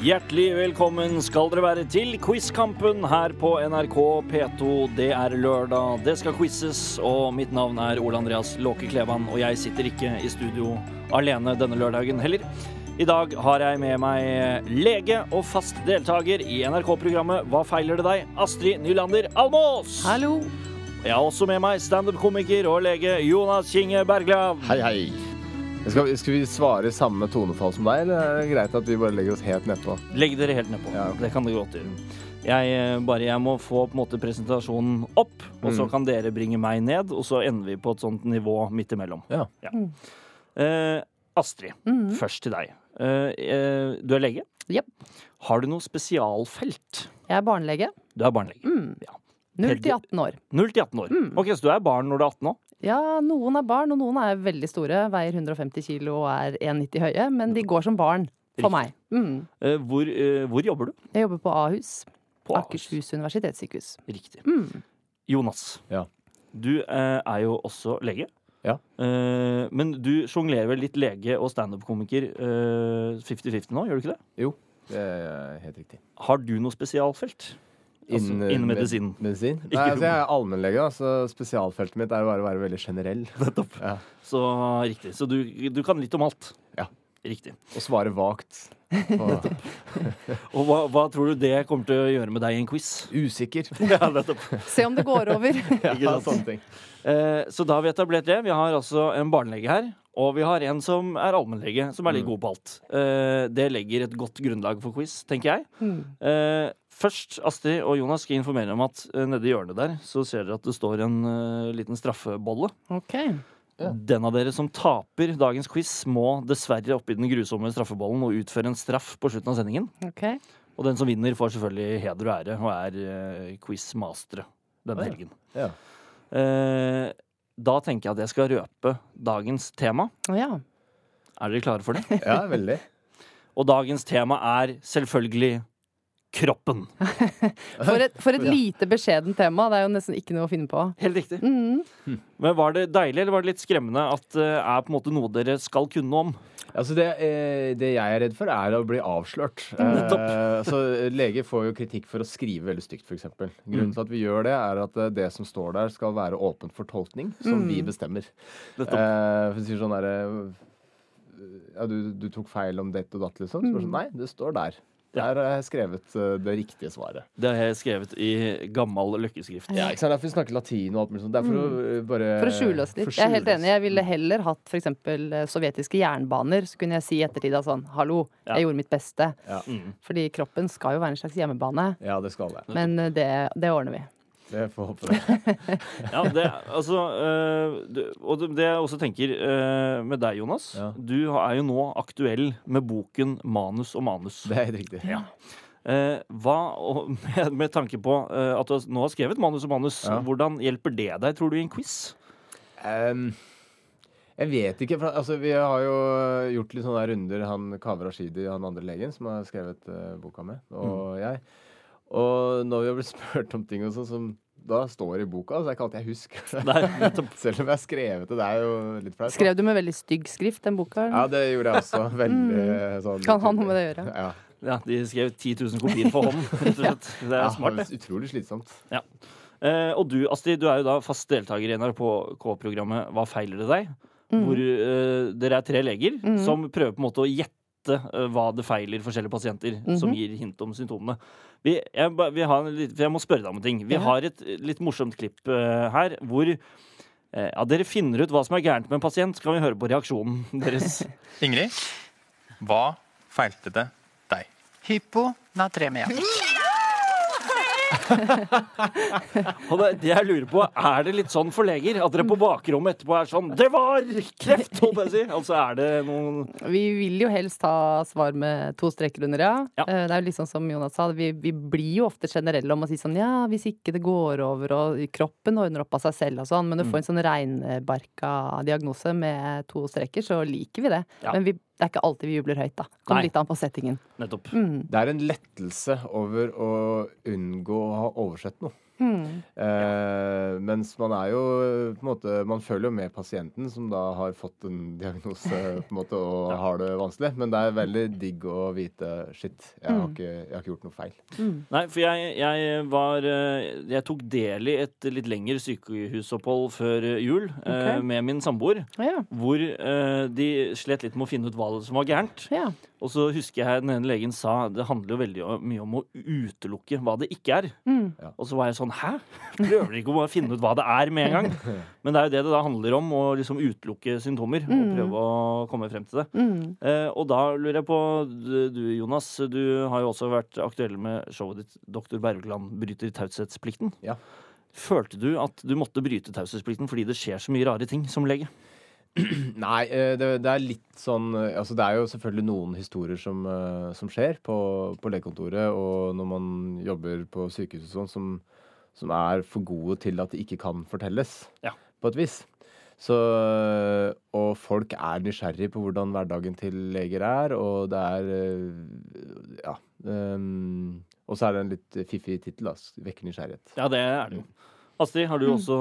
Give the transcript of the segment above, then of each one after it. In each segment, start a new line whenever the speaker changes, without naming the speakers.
Hjertelig velkommen skal dere være til Quizkampen her på NRK P2. Det er lørdag, det skal quizes, og mitt navn er Ole Andreas Låke Klevan. Og jeg sitter ikke i studio alene denne lørdagen heller. I dag har jeg med meg lege og fast deltaker i NRK-programmet Hva feiler det deg? Astrid Nylander Almås.
Hallo.
Jeg har også med meg standup-komiker og lege Jonas Kinge Bergland.
Hei, hei. Skal, vi- skal vi svare samme tonefall som deg, eller er det greit at vi bare legger oss helt nedpå?
Legg dere helt nedpå.
Ja, ok.
Det kan dere godt gjøre. Jeg, eh, bare, jeg må få på en måte presentasjonen opp, og
Mm.
så kan dere bringe meg ned. Og så ender vi på et sånt nivå midt imellom.
Ja.
Eh, Astrid,
Mm.
først til deg. Eh, eh, du er lege.
Jepp.
Har du noe spesialfelt?
Jeg er barnelege.
Du er barnelege. Ja.
0
Pedi-
til 18 år.
0 til 18 år. Ok, Så du er barn når du er 18 år?
Ja, noen er barn, og noen er veldig store. Veier 150 kilo og er 1,90 høye. Men de går som barn. For
Riktig.
meg. Mm.
Eh, hvor, eh, hvor jobber du?
Jeg jobber på Ahus.
På Ahus.
Akershus universitetssykehus.
Riktig.
Mm.
Jonas,
Ja.
du eh, er jo også lege.
Ja.
Eh, men du sjonglerer vel litt lege og standup-komiker eh, 50-50 nå, gjør du ikke det?
Det er helt riktig.
Har du noe spesialfelt? Altså,
Innen-
innen medisinen.
med- Medisin?
Ikke-
Nei, altså, jeg er allmennlege, da, så spesialfeltet mitt er jo bare å være veldig generell.
Nettopp.
Ja.
Så riktig. Så du, du kan litt om alt?
Ja.
Riktig.
Og svare vagt. Og
Og hva, hva tror du det kommer til å gjøre med deg i en quiz?
usikker.
Ja, nettopp.
Se om det går over.
Ja, sånne ting.
Eh, så da har vi etablert det. Vi har altså en barnelege her. Og vi har en som er allmennlege, som er litt
Mm.
god på alt. Eh, det legger et godt grunnlag for quiz, tenker jeg.
Mm.
Eh, først, Astrid og Jonas, skal jeg informere om at eh, nede i hjørnet der så ser dere at det står en eh, liten straffebolle.
Ok.
Ja.
Den av dere som taper dagens quiz, må dessverre oppi den grusomme straffebollen og utføre en straff på slutten av sendingen.
ok.
Og den som vinner, får selvfølgelig heder og ære og er eh, quizmastere denne
Å, ja.
helgen.
Ja.
Eh, da tenker jeg at jeg skal røpe dagens tema.
Å ja.
Er dere klare for det?
ja, veldig.
Og dagens tema er selvfølgelig kroppen.
For et, for et
Ja.
lite beskjedent tema. Det er jo nesten ikke noe å finne på.
Helt riktig.
Mm.
Men Var det deilig eller var det litt skremmende at det er på en måte noe dere skal kunne om?
Altså det, eh, det jeg er redd for, er å bli avslørt. Eh, så Leger får jo kritikk for å skrive veldig stygt, f.eks.
Mm.
Grunnen til at vi gjør det, er at eh, det som står der, skal være åpent for tolkning,
Mm.
som vi bestemmer.
Nettopp.
Eh, for å si sånn der, eh, ja, du, du tok feil om dette og datt, liksom. Så bare sånn, nei, det står der.
Ja.
Der har jeg skrevet eh, det riktige svaret.
Det har jeg skrevet i gammel løkkeskrift.
Ja, ikke sant? Derfor vi snakker latin og alt mulig sånt. Det er for å eh, bare
For å skjule oss litt.
for å
Jeg er helt
skjule oss.
enig. Jeg ville heller hatt f.eks. sovjetiske jernbaner. Så kunne jeg si i ettertid av sånn Hallo,
Ja.
jeg gjorde mitt beste.
Ja.
Mm.
Fordi kroppen skal jo være en slags hjemmebane.
Ja, det skal jeg.
Men eh, det, det ordner vi.
Det får jeg håpe det.
Ja, det, altså, øh, det- og det- det jeg også tenker øh, med deg, Jonas.
Ja.
Du er jo nå aktuell med boken 'Manus og manus'.
Det er helt riktig.
Eh, hva, og med, med tanke på eh, at du har- nå har skrevet 'Manus og manus',
Ja.
hvordan hjelper det deg, tror du, i en quiz?
Ehm, jeg vet ikke. For, altså, vi har jo eh, gjort litt sånne runder, han Kaveh Rashidi, han andre legen som har skrevet eh, boka med, og
Mm.
jeg. Og når vi har blitt spurt om ting og sånn som da står i boka, så er det ikke alltid jeg husker det.
Nei, nettopp.
Selv om jeg har skrevet det. Det er jo litt flaut. da.
Skrev du med veldig stygg skrift den boka?
Ja,
eller?
det gjorde jeg også. Veldig sånn
Kan ha noe med det å gjøre.
Ja.
ja, de skrev 10 000 kopier for hånden, rett og slett. Det er
Ja,
smart.
det er utrolig slitsomt.
Eh, og du, Astrid, du er jo da fast deltaker i NRK-programmet Hva feiler det deg? Hvor eh, dere er tre leger som prøver på en måte å gjette eh, hva det feiler forskjellige pasienter, som gir hint om symptomene. Vi, jeg, ba- vi har en litt, for jeg må spørre deg om en ting. Vi
Ja.
har et eh, litt morsomt klipp eh, her hvor eh, ja, dere finner ut hva som er gærent med en pasient, så kan vi høre på reaksjonen deres.
Ingrid, hva feilte det deg?
Hyponatremia.
Og det, det jeg lurer på, er det litt sånn for leger at dere på bakrommet etterpå er sånn Det var kreft, holdt jeg på å si! Altså er det noen
Vi vil jo helst ha svar med to streker under, ja.
Ja.
Eh, Det er jo liksom som Jonas sa, vi, vi blir jo ofte generelle om å si sånn ja, hvis ikke det går over, og kroppen ordner opp av seg selv og sånn, men du får en sånn reinbarka diagnose med to streker, så liker vi det.
Ja.
Men vi, det er ikke alltid vi jubler høyt, da. Kommer
Nei.
litt an på settingen. Mm.
Nettopp.
Det er en lettelse over å unngå å ha oversett noe. Eh, mens man er jo eh, på en måte, Man følger jo med pasienten, som da har fått en diagnose på en måte, og har det vanskelig. Men det er veldig digg å vite Shit, jeg har ikke, jeg har ikke gjort noe feil.
Nei, for jeg, jeg var eh, Jeg tok del i et litt lengre sykehusopphold før eh, jul eh,
Ok.
med min samboer.
Ja.
Hvor eh, de slet litt med å finne ut hva som var gærent.
ja.
Og så husker jeg den ene legen sa det handler jo veldig o- mye om å utelukke hva det ikke er.
Ja.
Og så var jeg sånn hæ? Prøver dere ikke å bare finne ut hva det er med en gang? Men det er jo det det da handler om, å liksom utelukke symptomer og prøve å komme frem til det. Eh, og da lurer jeg på, du- du Jonas, du har jo også vært aktuell med showet ditt 'Doktor Bergland bryter taushetsplikten'.
Ja.
Følte du at du måtte bryte taushetsplikten fordi det skjer så mye rare ting som lege?
Nei, eh, det, det er litt sånn eh, Altså det er jo selvfølgelig noen historier som, eh, som skjer på, på legekontoret, og når man jobber på sykehus og sånn, som, som er for gode til at det ikke kan fortelles.
Ja.
På et vis. Så, eh, og folk er nysgjerrig på hvordan hverdagen til leger er, og det er eh, Ja. ehm, og så er det en litt fiffig tittel, da. s- Vekker nysgjerrighet.
Ja, det er det jo. Astrid, har du også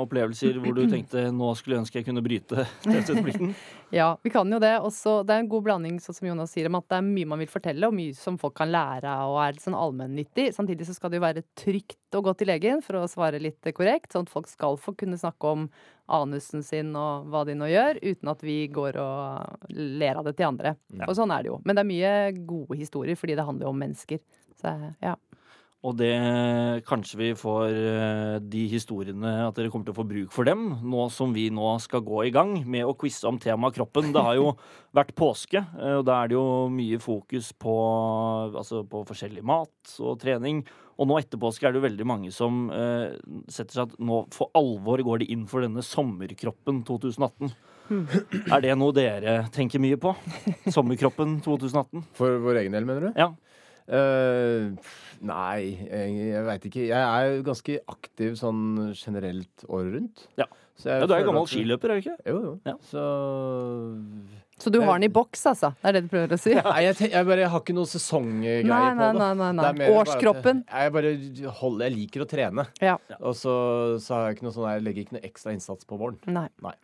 opplevelser hvor du tenkte nå skulle jeg ønske jeg kunne bryte taushetsplikten?
Ja, vi kan jo det. Og så det er en god blanding, sånn som Jonas sier, om at det er mye man vil fortelle, og mye som folk kan lære av, og er litt sånn allmennyttig. Samtidig så skal det jo være trygt å gå til legen, for å svare litt korrekt. Sånn at folk skal få kunne snakke om anusen sin og hva de nå gjør, uten at vi går og ler av det til andre. Og sånn er det jo. Men det er mye gode historier, fordi det handler jo om mennesker. Så ja.
Og det kanskje vi får eh, de historiene at dere kommer til å få bruk for dem, nå som vi nå skal gå i gang med å quize om temaet kroppen. Det har jo vært påske, eh, og da er det jo mye fokus på, altså på forskjellig mat og trening. Og nå etter påske er det jo veldig mange som eh, setter seg at nå for alvor går de inn for denne sommerkroppen 2018. Er det noe dere tenker mye på? Sommerkroppen 2018?
For vår egen del, mener du?
Ja.
Eh, pff, nei, jeg, jeg veit ikke. Jeg er jo ganske aktiv sånn generelt året rundt.
Ja.
Så
ja
jeg
du er
føler
jo gammel
at-
skiløper, er du ikke?
Jo, jo.
Ja.
Så
Så du har den i boks, altså? Det er det du prøver å si?
Nei, jeg, ten- jeg bare jeg har ikke noe sesonggreier
Nei,
på
nei,
det.
nei, nei, nei.
Det er mer bare at
Årskroppen.
Jeg, jeg bare holder Jeg liker å trene.
Ja.
Og så, så har jeg ikke noe sånn, jeg legger ikke noe ekstra innsats på våren.
Nei.
Nei.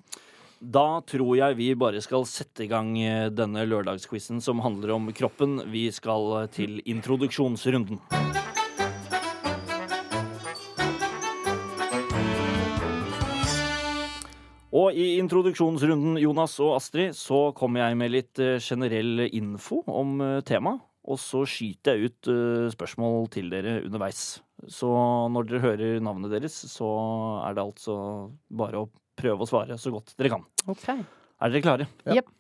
Da tror jeg vi bare skal sette i gang eh, denne lørdagsquizen som handler om kroppen. Vi skal eh, til introduksjonsrunden. Og i introduksjonsrunden, Jonas og Astrid, så kommer jeg med litt eh, generell info om eh, temaet. Og så skyter jeg ut eh, spørsmål til dere underveis. Så når dere hører navnet deres, så er det altså bare å prøve å svare så godt dere kan.
Ok.
Er dere klare?
Ja. Jep.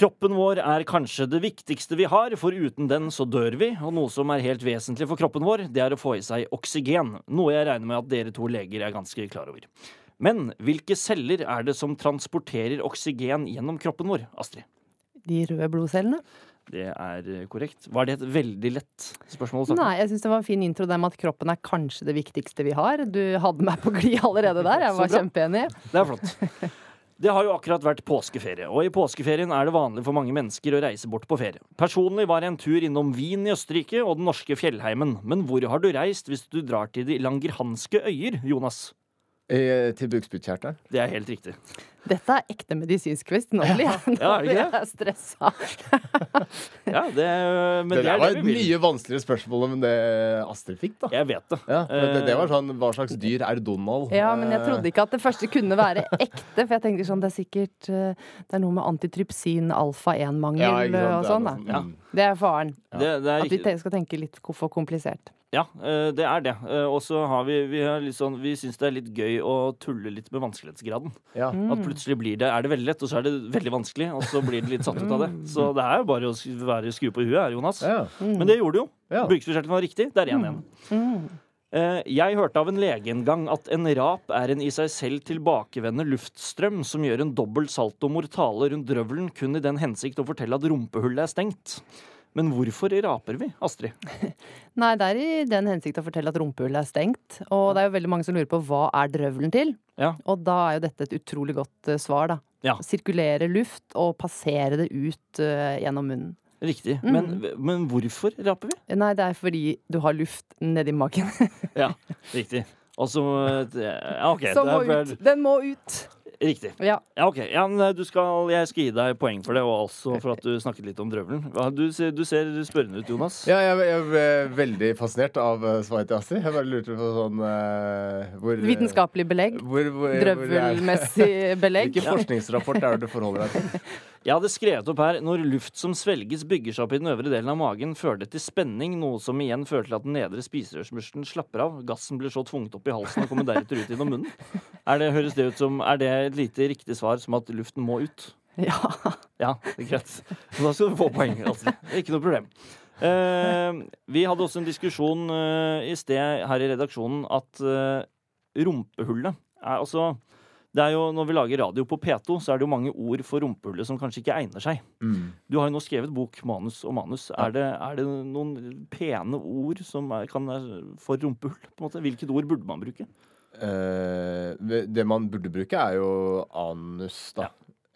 Kroppen vår er kanskje det viktigste vi har, for uten den så dør vi. Og noe som er helt vesentlig for kroppen vår, det er å få i seg oksygen. Noe jeg regner med at dere to leger er ganske klar over. Men hvilke celler er det som transporterer oksygen gjennom kroppen vår, Astrid?
De røde blodcellene?
Det er eh, korrekt. Var det et veldig lett spørsmål? å starte med?
Nei, jeg syns det var en fin intro der med at kroppen er kanskje det viktigste vi har. Du hadde meg på glid allerede der. Jeg var kjempeenig.
Det er flott. Det har jo akkurat vært påskeferie, og i påskeferien er det vanlig for mange mennesker å reise bort på ferie. Personlig var jeg en tur innom Wien i Østerrike og den norske fjellheimen, men hvor har du reist hvis du drar til de langerhanske øyer, Jonas?
Eh, til bukspyttkjertelen.
Det er helt riktig.
Dette er ekte medisinsk quiz. Nå blir jeg, nå
Ja, er det
blir
ikke
jeg stressa.
Ja, det, men det,
Det der
er
var
det
et
vi vil.
mye vanskeligere spørsmål enn det Astrid fikk, da.
Jeg vet det.
Ja, for det, det
Eh.
var sånn Hva slags dyr er Donald?
Ja, men jeg
Eh,
trodde ikke at det første kunne være ekte. For jeg tenkte sånn, det er sikkert eh, Det er noe med antitrypsin
ja, ikke sant,
alfa-1-mangel og
det er noe
sånn, da.
sånn, mm.
Det er faren.
Eh, Det, det er
At vi
riktig.
te- skal tenke litt ko- for komplisert.
Ja, eh, det er det. Eh, Og så har vi, vi, har litt sånn, vi syns det er litt gøy å tulle litt med vanskelighetsgraden.
Ja.
Mm.
At plutselig blir det, er det veldig lett, og så er det veldig vanskelig, og så blir det litt satt ut av det.
Mm.
Så det er jo bare å sk- være skru på huet her, Jonas.
Ja.
Men det gjorde du jo.
Ja.
Bukspyttkjertelen var riktig. Det er
Mm.
én igjen. Eh, Jeg hørte av en lege en gang at en rap er en i seg selv tilbakevendende luftstrøm som gjør en dobbel salto mortale rundt drøvelen kun i den hensikt å fortelle at rumpehullet er stengt. Men hvorfor raper vi, Astrid?
Nei, det er i den hensikt å fortelle at rumpehullet er stengt. Og det er jo veldig mange som lurer på hva er drøvelen til?
Ja.
Og da er jo dette et utrolig godt eh, svar, da.
Ja.
Sirkulere luft og passere det ut eh, gjennom munnen.
Riktig. Men, men hvorfor raper vi?
Nei, det er fordi du har luft nedi magen.
Ja, riktig. Og så Ja, OK.
Som må
det er
ut.
vel-
Den må ut!
Riktig.
Ja.
Ja, ok. Ja, men eh, du skal, jeg skal gi deg poeng for det, og også for at du snakket litt om drøvelen. Hva- Du, ser- du ser spørrende ut, Jonas.
Ja, jeg, jeg ble veldig fascinert av eh, svaret til Astrid. Jeg bare lurte på sånn eh, hvor,
Vitenskapelig belegg.
Hvor, hvor, hvor er,
Drøvelmessig belegg.
hvilken forskningsrapport er det du forholder deg til?
Jeg hadde skrevet opp her når luft som svelges bygger seg opp i den øvre delen av magen, fører det til spenning, noe som igjen fører til at den nedre spiserørsmuskelen slapper av. Gassen blir så tvunget opp i halsen og kommer deretter ut gjennom munnen. Er det, høres det ut som Er det et lite riktig svar som at luften må ut?
Ja.
Ja, det er greit. Så da skal du få poeng. Altså. Ikke noe problem. Eh, vi hadde også en diskusjon eh, i sted her i redaksjonen at eh, rumpehullet er altså det er jo, Når vi lager radio på P2, så er det jo mange ord for rumpehullet som kanskje ikke egner seg. Du har jo nå skrevet bok, manus og manus. Er det, er det noen pene ord som er, kan være for rumpehull? på en måte? Hvilket ord burde man bruke?
Eh, det man burde bruke, er jo anus, da.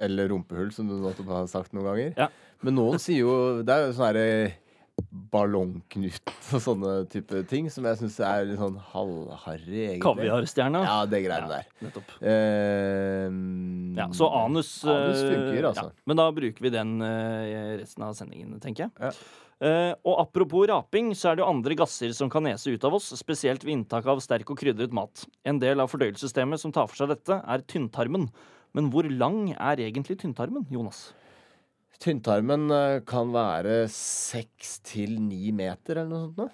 Eller rumpehull, som du nettopp har sagt noen ganger.
Ja.
Men noen sier jo Det er jo sånn herre ballongknut og sånne type ting som jeg syns er litt sånn halvharry, egentlig.
Kaviarstjerna?
Ja, det greiene der.
Nettopp.
Eh,
Ja, så anus
Anus
eh,
funker, altså.
ja. Men da bruker vi den eh, resten av sendingen, tenker jeg.
Ja.
Eh, og apropos raping, så er det jo andre gasser som kan nese ut av oss, spesielt ved inntak av sterk og krydret mat. En del av fordøyelsessystemet som tar for seg dette, er tynntarmen. Men hvor lang er egentlig tynntarmen, Jonas?
Tynntarmen eh, kan være seks til ni meter eller noe sånt nå.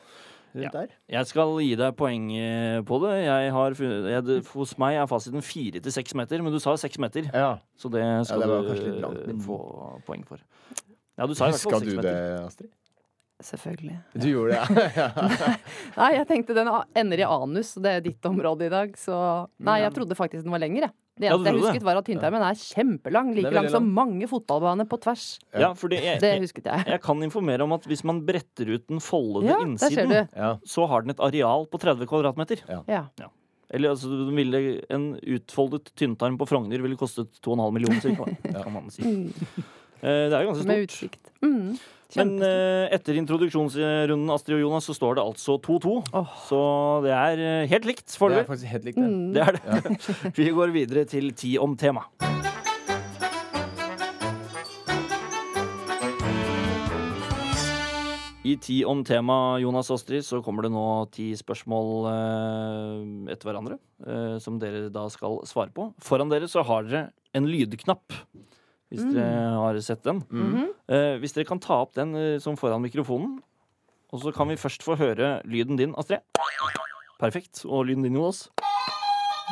Ja.
Rundt der.
Jeg skal gi deg poeng eh, på det. Jeg har funnet, jeg, det- hos meg er fasiten fire til seks meter, men du sa seks meter,
Ja.
så det skal
det var
du
kanskje litt langt,
eh,
men-
få poeng for. Ja, du sa i hvert fall
Huska
seks
du
meter.
det, Astrid?
Selvfølgelig.
Du gjorde det, ja.
Nei, jeg tenkte den a- ender i anus, og det er ditt område i dag, så Nei, jeg trodde faktisk den var lengre. Det
Ja, du
eneste jeg
trodde det?
husket, var at tynntarmen er kjempelang.
Den
Like
er
lang
veldig
som mange fotballbaner på tvers.
Ja, for det, jeg,
Det husket jeg.
Jeg kan informere om at hvis man bretter ut den foldede
Ja, der ser du.
innsiden,
ja.
så har den et areal på 30 kvadratmeter.
Ja.
Eller altså, den ville, en utfoldet tynntarm på Frogner ville kostet 2,5 millioner, cirka. kan man si. Eh, Det er jo ganske
Med
stort.
utsikt. Mm.
Men
Kjempestort.
eh, etter introduksjonsrunden Astrid og Jonas, så står det altså 2-2. Så det er eh, helt likt
Det er
foreløpig.
faktisk helt likt, det.
Mm.
Det er det. Vi går videre til Ti om tema. I Ti om tema, Jonas og Astrid, så kommer det nå ti spørsmål eh, etter hverandre. Eh, som dere da skal svare på. Foran dere så har dere en lydknapp. Hvis dere har sett den. eh, hvis dere kan ta opp den eh, som foran mikrofonen. Og så kan vi først få høre lyden din, Astrid. Perfekt. Og lyden din, Jonas.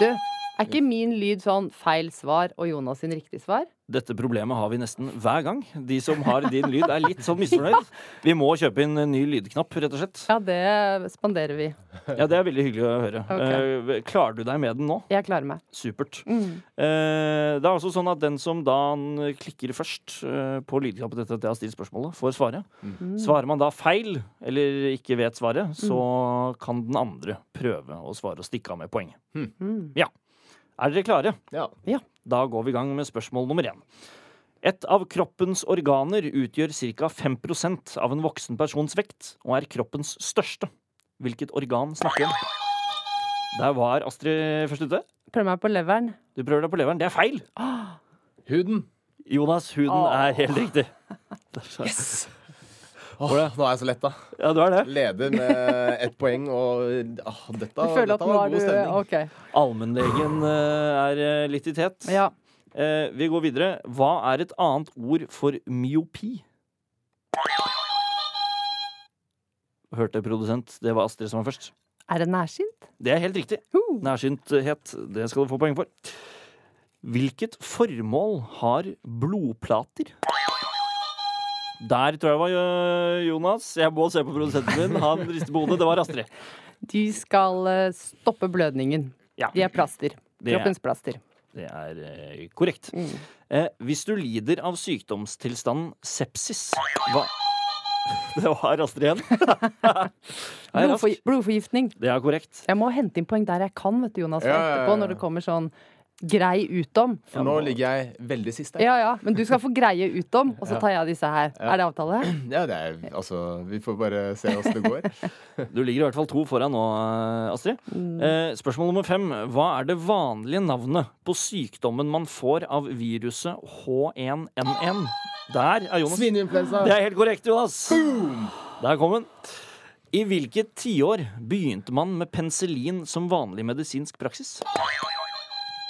Du, er ikke min lyd sånn feil svar og Jonas sin riktig svar?
Dette problemet har vi nesten hver gang. De som har din lyd, er litt sånn misfornøyd. Vi må kjøpe inn en ny lydknapp, rett og slett.
Ja, det spanderer vi.
Ja, Det er veldig hyggelig å høre.
Ok.
Eh, Klarer du deg med den nå?
Jeg klarer meg.
Supert.
Mm.
Eh, Det er også sånn at den som da n- klikker først eh, på lydknappen etter at jeg har stilt spørsmålet, får svare.
Mm.
Svarer man da feil, eller ikke vet svaret, så kan den andre prøve å svare og stikke av med poenget.
Mm.
Ja. Er dere klare?
Ja.
Da går vi i gang med spørsmål nummer én. Et av kroppens organer utgjør ca. 5 av en voksen persons vekt og er kroppens største. Hvilket organ snakker vi om? Der var Astrid først ute.
Prøv meg på leveren.
Du prøver deg på leveren. Det er feil!
Huden.
Jonas, huden
Åh.
er helt riktig.
Åh, nå er jeg så letta.
Ja, du er det.
Leder med ett poeng og åh, dette,
Du føler
dette
at nå
var
er
god
du
stemning.
OK.
Allmennlegen eh, er eh, litt i tet.
Ja.
Eh, Vi går videre. Hva er et annet ord for myopi? Hørte produsent. Det var Astrid som var først.
Er det nærsynt?
Det er helt riktig.
Uh.
Nærsynthet, det skal du få poeng for. Hvilket formål har blodplater? Der tror jeg det var øh, Jonas. Jeg må se på produsenten min. Han rister på hodet. Det var Astrid.
De skal eh, stoppe blødningen.
Ja,
De er plaster.
Det er-
Kroppens plaster.
det er øh, korrekt. Eh, hvis du lider av sykdomstilstanden sepsis Hva Det var Astrid igjen. Det er raskt.
Blodforgi- blodforgiftning.
Det er korrekt.
Jeg må hente inn poeng der jeg kan, vet du, Jonas. for
Ja, ja, ja,
Etterpå,
ja.
når det kommer sånn grei ut om.
For nå ligger jeg veldig sist der.
Ja ja, men du skal få greie ut om, og så tar jeg disse her.
Ja.
Er det avtale?
Ja, det er, altså, vi får bare se åssen det går.
Du ligger i hvert fall to foran nå, eh, Astrid. Eh, spørsmål nummer fem. Hva er det vanlige navnet på sykdommen man får av viruset H1N1? Der er Jonas.
Svineinfluensa!
Det er helt korrekt, Jonas. Der kom den. I hvilket tiår begynte man med penicillin som vanlig medisinsk praksis?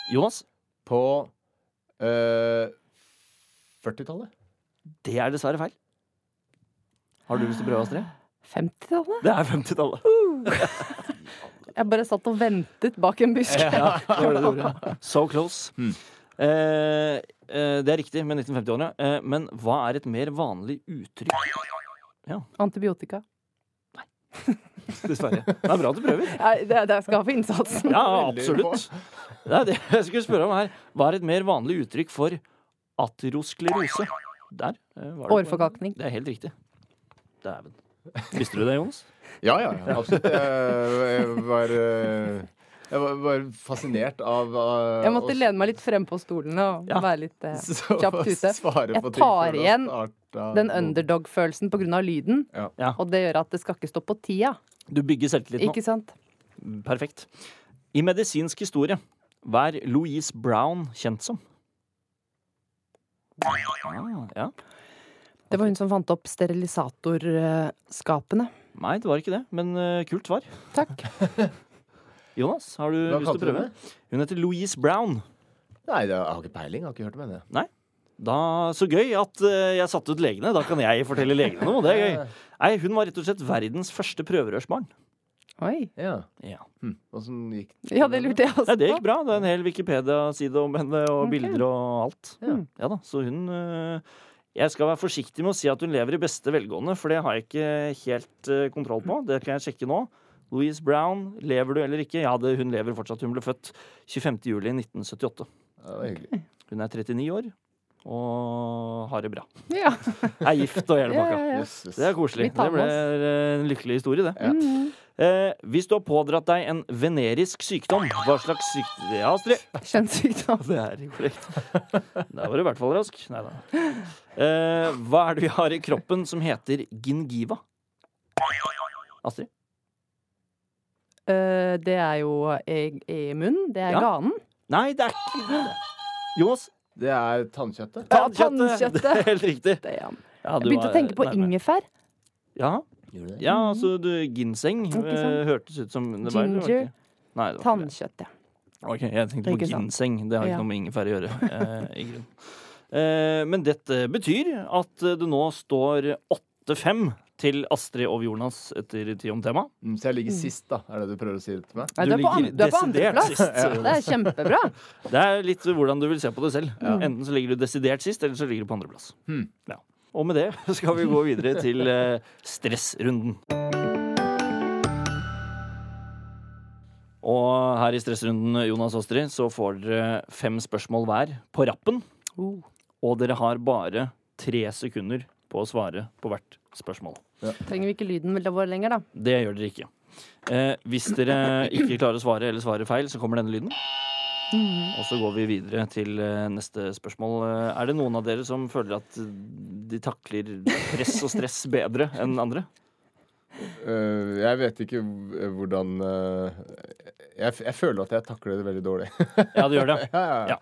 Jonas,
På øh, 40-tallet.
det er dessverre feil. Har du lyst til å prøve, Astrid?
50-tallet?
Det er 50-tallet.
Jeg bare satt og ventet bak en busk.
Det var det du gjorde. Mm. So close. Eh, eh, det er riktig med 1950-årene, eh, men hva er et mer vanlig uttrykk?
Antibiotika.
Dessverre. Det er bra at du prøver.
Nei, det, det skal for innsatsen.
Ja,
Veldig
absolutt. Det er det jeg skulle spørre om her. Hva er et mer vanlig uttrykk for aterosklerose? Der eh, var det.
Årforkalkning.
Det er helt riktig. Dæven. Visste du det, Jonas?
Ja, ja, ja, absolutt. Jeg, jeg var øh, jeg var, var fascinert av øh,
Jeg måtte
å-
lene meg litt frem på stolene og
Ja.
være litt eh,
så-
kjapt ute.
svare
Jeg
på ting
tar
før det
igjen
har startet.
Den underdog-følelsen på grunn av lyden.
Ja.
Ja.
Og det gjør at det skal ikke stå på tida.
Du bygger selvtillit nå.
Ikke sant?
Perfekt. I medisinsk historie, hva er Louise Brown kjent som? Ah, ja.
Det var hun som fant opp sterilisatorskapene.
Nei, det var ikke det, men eh, kult svar.
Takk.
Jonas, har du
Hva
lyst til å
kalte du
prøve? Hun heter Louise Brown.
Nei, det- jeg har ikke peiling. Jeg har ikke hørt om henne.
Da, så gøy at eh, jeg satte ut legene. Da kan jeg fortelle legene noe. Det er gøy. Nei, hun var rett og slett verdens første prøverørsbarn.
Oi.
Ja.
Ja.
Hm. Åssen gikk
Ja, det lurte jeg også
Nei, det
på.
gikk bra. Det er en hel Wikipedia-side om henne og
Ok.
bilder og alt. Mm. Ja, da, så hun eh, Jeg skal være forsiktig med å si at hun lever i beste velgående, for det har jeg ikke helt eh, kontroll på. Det kan jeg sjekke nå. Louise Brown, lever du eller ikke? Ja, det, hun lever fortsatt. Hun ble født 25. juli 1978.
Ja, det var hyggelig.
Hun er 39 år og har det bra.
Ja.
Er gift og hele
Ja,
pakka.
ja, ja.
Yes, yes.
Det er koselig.
Vi tar
Det ble
med oss.
eh, en lykkelig historie, det.
Mm,
Ja.
Eh, hvis du har pådratt deg en venerisk sykdom, hva slags sykdom Ja, Astrid?
Kjønnssykdom.
Det er korrekt. Der var du i hvert fall rask. Nei da. Eh, hva er det vi har i kroppen som heter gingiva? Astrid?
Eh, Det er jo i, i munnen. Det er
Ja.
ganen.
Nei, det er ikke Jonas?
Det er tannkjøttet.
Ja, tannkjøttet.
Det er helt riktig.
Det er han.
Ja,
Jeg
du
begynte å
var
tenke på
nærme.
ingefær.
Ja, ja altså du, ginseng
Mm. Ikke sant?
eh, hørtes ut som det var- det var
Ginger.
ikke- Nei, det var ikke det.
Tannkjøtt, ja.
Ok, jeg tenkte på
Ikke sant?
ginseng. Det har ikke
Ja.
noe med ingefær å gjøre. Eh, i grunn. Eh, men dette betyr at det nå står 8-5 til Astrid og Jonas etter Ti om tema.
Mm, Så jeg ligger sist, da. Er det du prøver å si til meg?
Nei, du, er på,
ligger
an- du er på
desidert
andreplass.
sist, så-
Det er kjempebra.
Det er litt hvordan du vil se på det selv. Enten så ligger du desidert sist, eller så ligger du på andreplass.
Hmm.
Ja. Og med det skal vi gå videre til eh, stressrunden. Og her i stressrunden, Jonas og Astrid, så får dere fem spørsmål hver på rappen.
Oh.
Og dere har bare tre sekunder på å svare på hvert spørsmål.
Trenger vi ikke lyden veldig vår lenger, da?
Det gjør dere ikke. Eh, hvis dere ikke klarer å svare eller svarer feil, så kommer denne lyden. Og så går vi videre til eh, neste spørsmål. Eh, Er det noen av dere som føler at de takler press og stress bedre enn andre?
Øh, jeg vet ikke hv- hvordan øh, jeg, f- jeg føler at jeg takler det veldig dårlig.
Ja, du gjør det.
ja, ja.
Ja.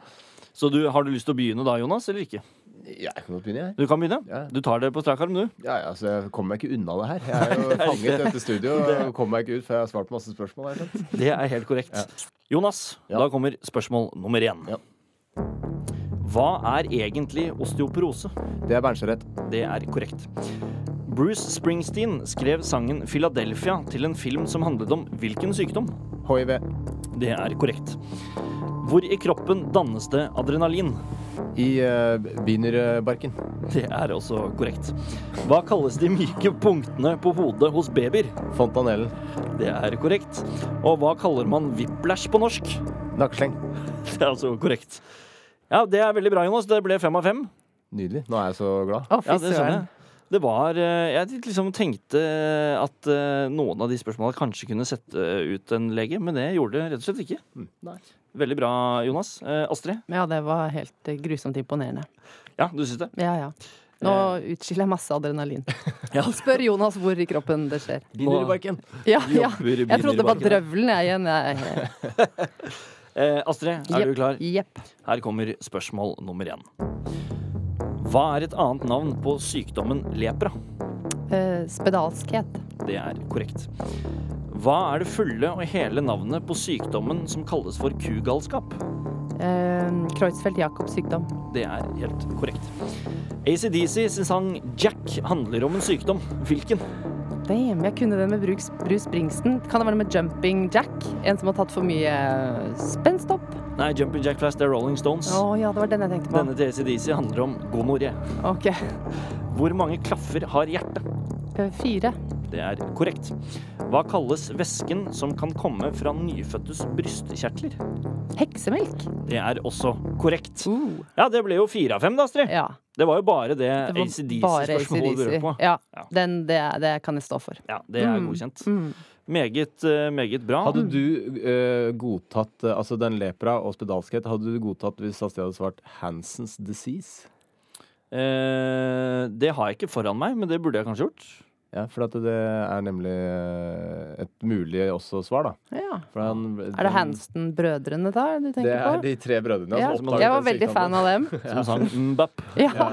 Så du, har du lyst til å begynne da, Jonas, eller ikke?
Ja, Jeg kan godt begynne, jeg.
Du kan begynne.
Ja.
Du tar det på strak arm, du.
Ja, ja, altså, jeg kommer meg ikke unna det her. Jeg er jo fanget i dette studio og kommer meg ikke ut før jeg har svart på masse spørsmål. Her, sant?
Det er helt korrekt. Jonas,
Ja.
da kommer spørsmål nummer én.
Ja.
Hva er egentlig osteoporose?
Det er Bernsjørett.
Det er korrekt. Bruce Springsteen skrev sangen 'Philadelphia' til en film som handlet om hvilken sykdom?
HIV.
Det er korrekt. Hvor i kroppen dannes det adrenalin?
I uh, Wienerbarken.
Det er også korrekt. Hva kalles de myke punktene på hodet hos babyer?
Fontanellen.
Det er korrekt. Og hva kaller man whiplash på norsk?
Nakkesleng.
Det er altså korrekt. Ja, det er veldig bra, Jonas. Det ble fem av fem.
Nydelig. Nå er jeg så glad.
Å, fy
Ja, det skjønner
søren.
jeg. Det var eh, Jeg liksom tenkte at
Mm.
eh, noen av de spørsmålene kanskje kunne sette ut en lege, men det gjorde det rett og slett ikke.
Nei.
Veldig bra, Jonas. Eh, Astrid?
Ja, det var helt eh, grusomt imponerende.
Ja, du syns det?
Ja, ja. Nå utskiller jeg masse adrenalin.
Eh. Ja.
Spør Jonas hvor i kroppen det skjer.
Binderbarken.
Ja, ja.
Jobber i
Jeg trodde det var
binderbarken.
drøvelen, jeg igjen. Jeg-
Eh, Astrid, er du klar?
Jepp.
Her kommer spørsmål nummer én. Hva er et annet navn på sykdommen lepra?
Eh, Spedalskhet.
Det er korrekt. Hva er det fulle og hele navnet på sykdommen som kalles for kugalskap?
Eh, Creutzfeldt-Jacobs sykdom.
Det er helt korrekt. ACDC sin sang Jack handler om en sykdom. Hvilken?
Damn, jeg kunne den med Bruce, Bruce Springsteen. Kan det være med Jumping Jack? En som har tatt for mye eh, spenst opp?
Nei, Jumping Jack Flash, det er Rolling Stones.
Å ja, det var den jeg tenkte på.
Denne til ACDC handler om gonoré.
Ok.
Hvor mange klaffer har hjertet?
Eh, Fire.
Det er korrekt. Hva kalles væsken som kan komme fra nyfødtes brystkjertler?
Heksemelk.
Det er også korrekt.
Uh,
Ja, det ble jo fire av fem, da, Astrid.
ja.
Det var jo bare det,
Det var bare
ACDC-spørsmålet du
ACDC.
rød på.
Ja,
Ja.
den, det, er- det kan jeg stå for.
Ja, det er
Mm.
godkjent.
Mm.
Meget, eh, meget bra.
Hadde du eh, godtatt eh, altså den lepra og spedalskhet Hadde du godtatt hvis Astrid hadde svart Hansens disease?
Eh, det har jeg ikke foran meg, men det burde jeg kanskje gjort.
Ja, for at det er nemlig eh, et mulig også svar, da.
Ja.
For han,
Er det Hansen-brødrene da du tenker
Det er
på?
de tre brødrene.
ja.
som oppdaget
Jeg var
den
veldig
sykdommen.
fan av dem.
Som sang Mbap.
Ja.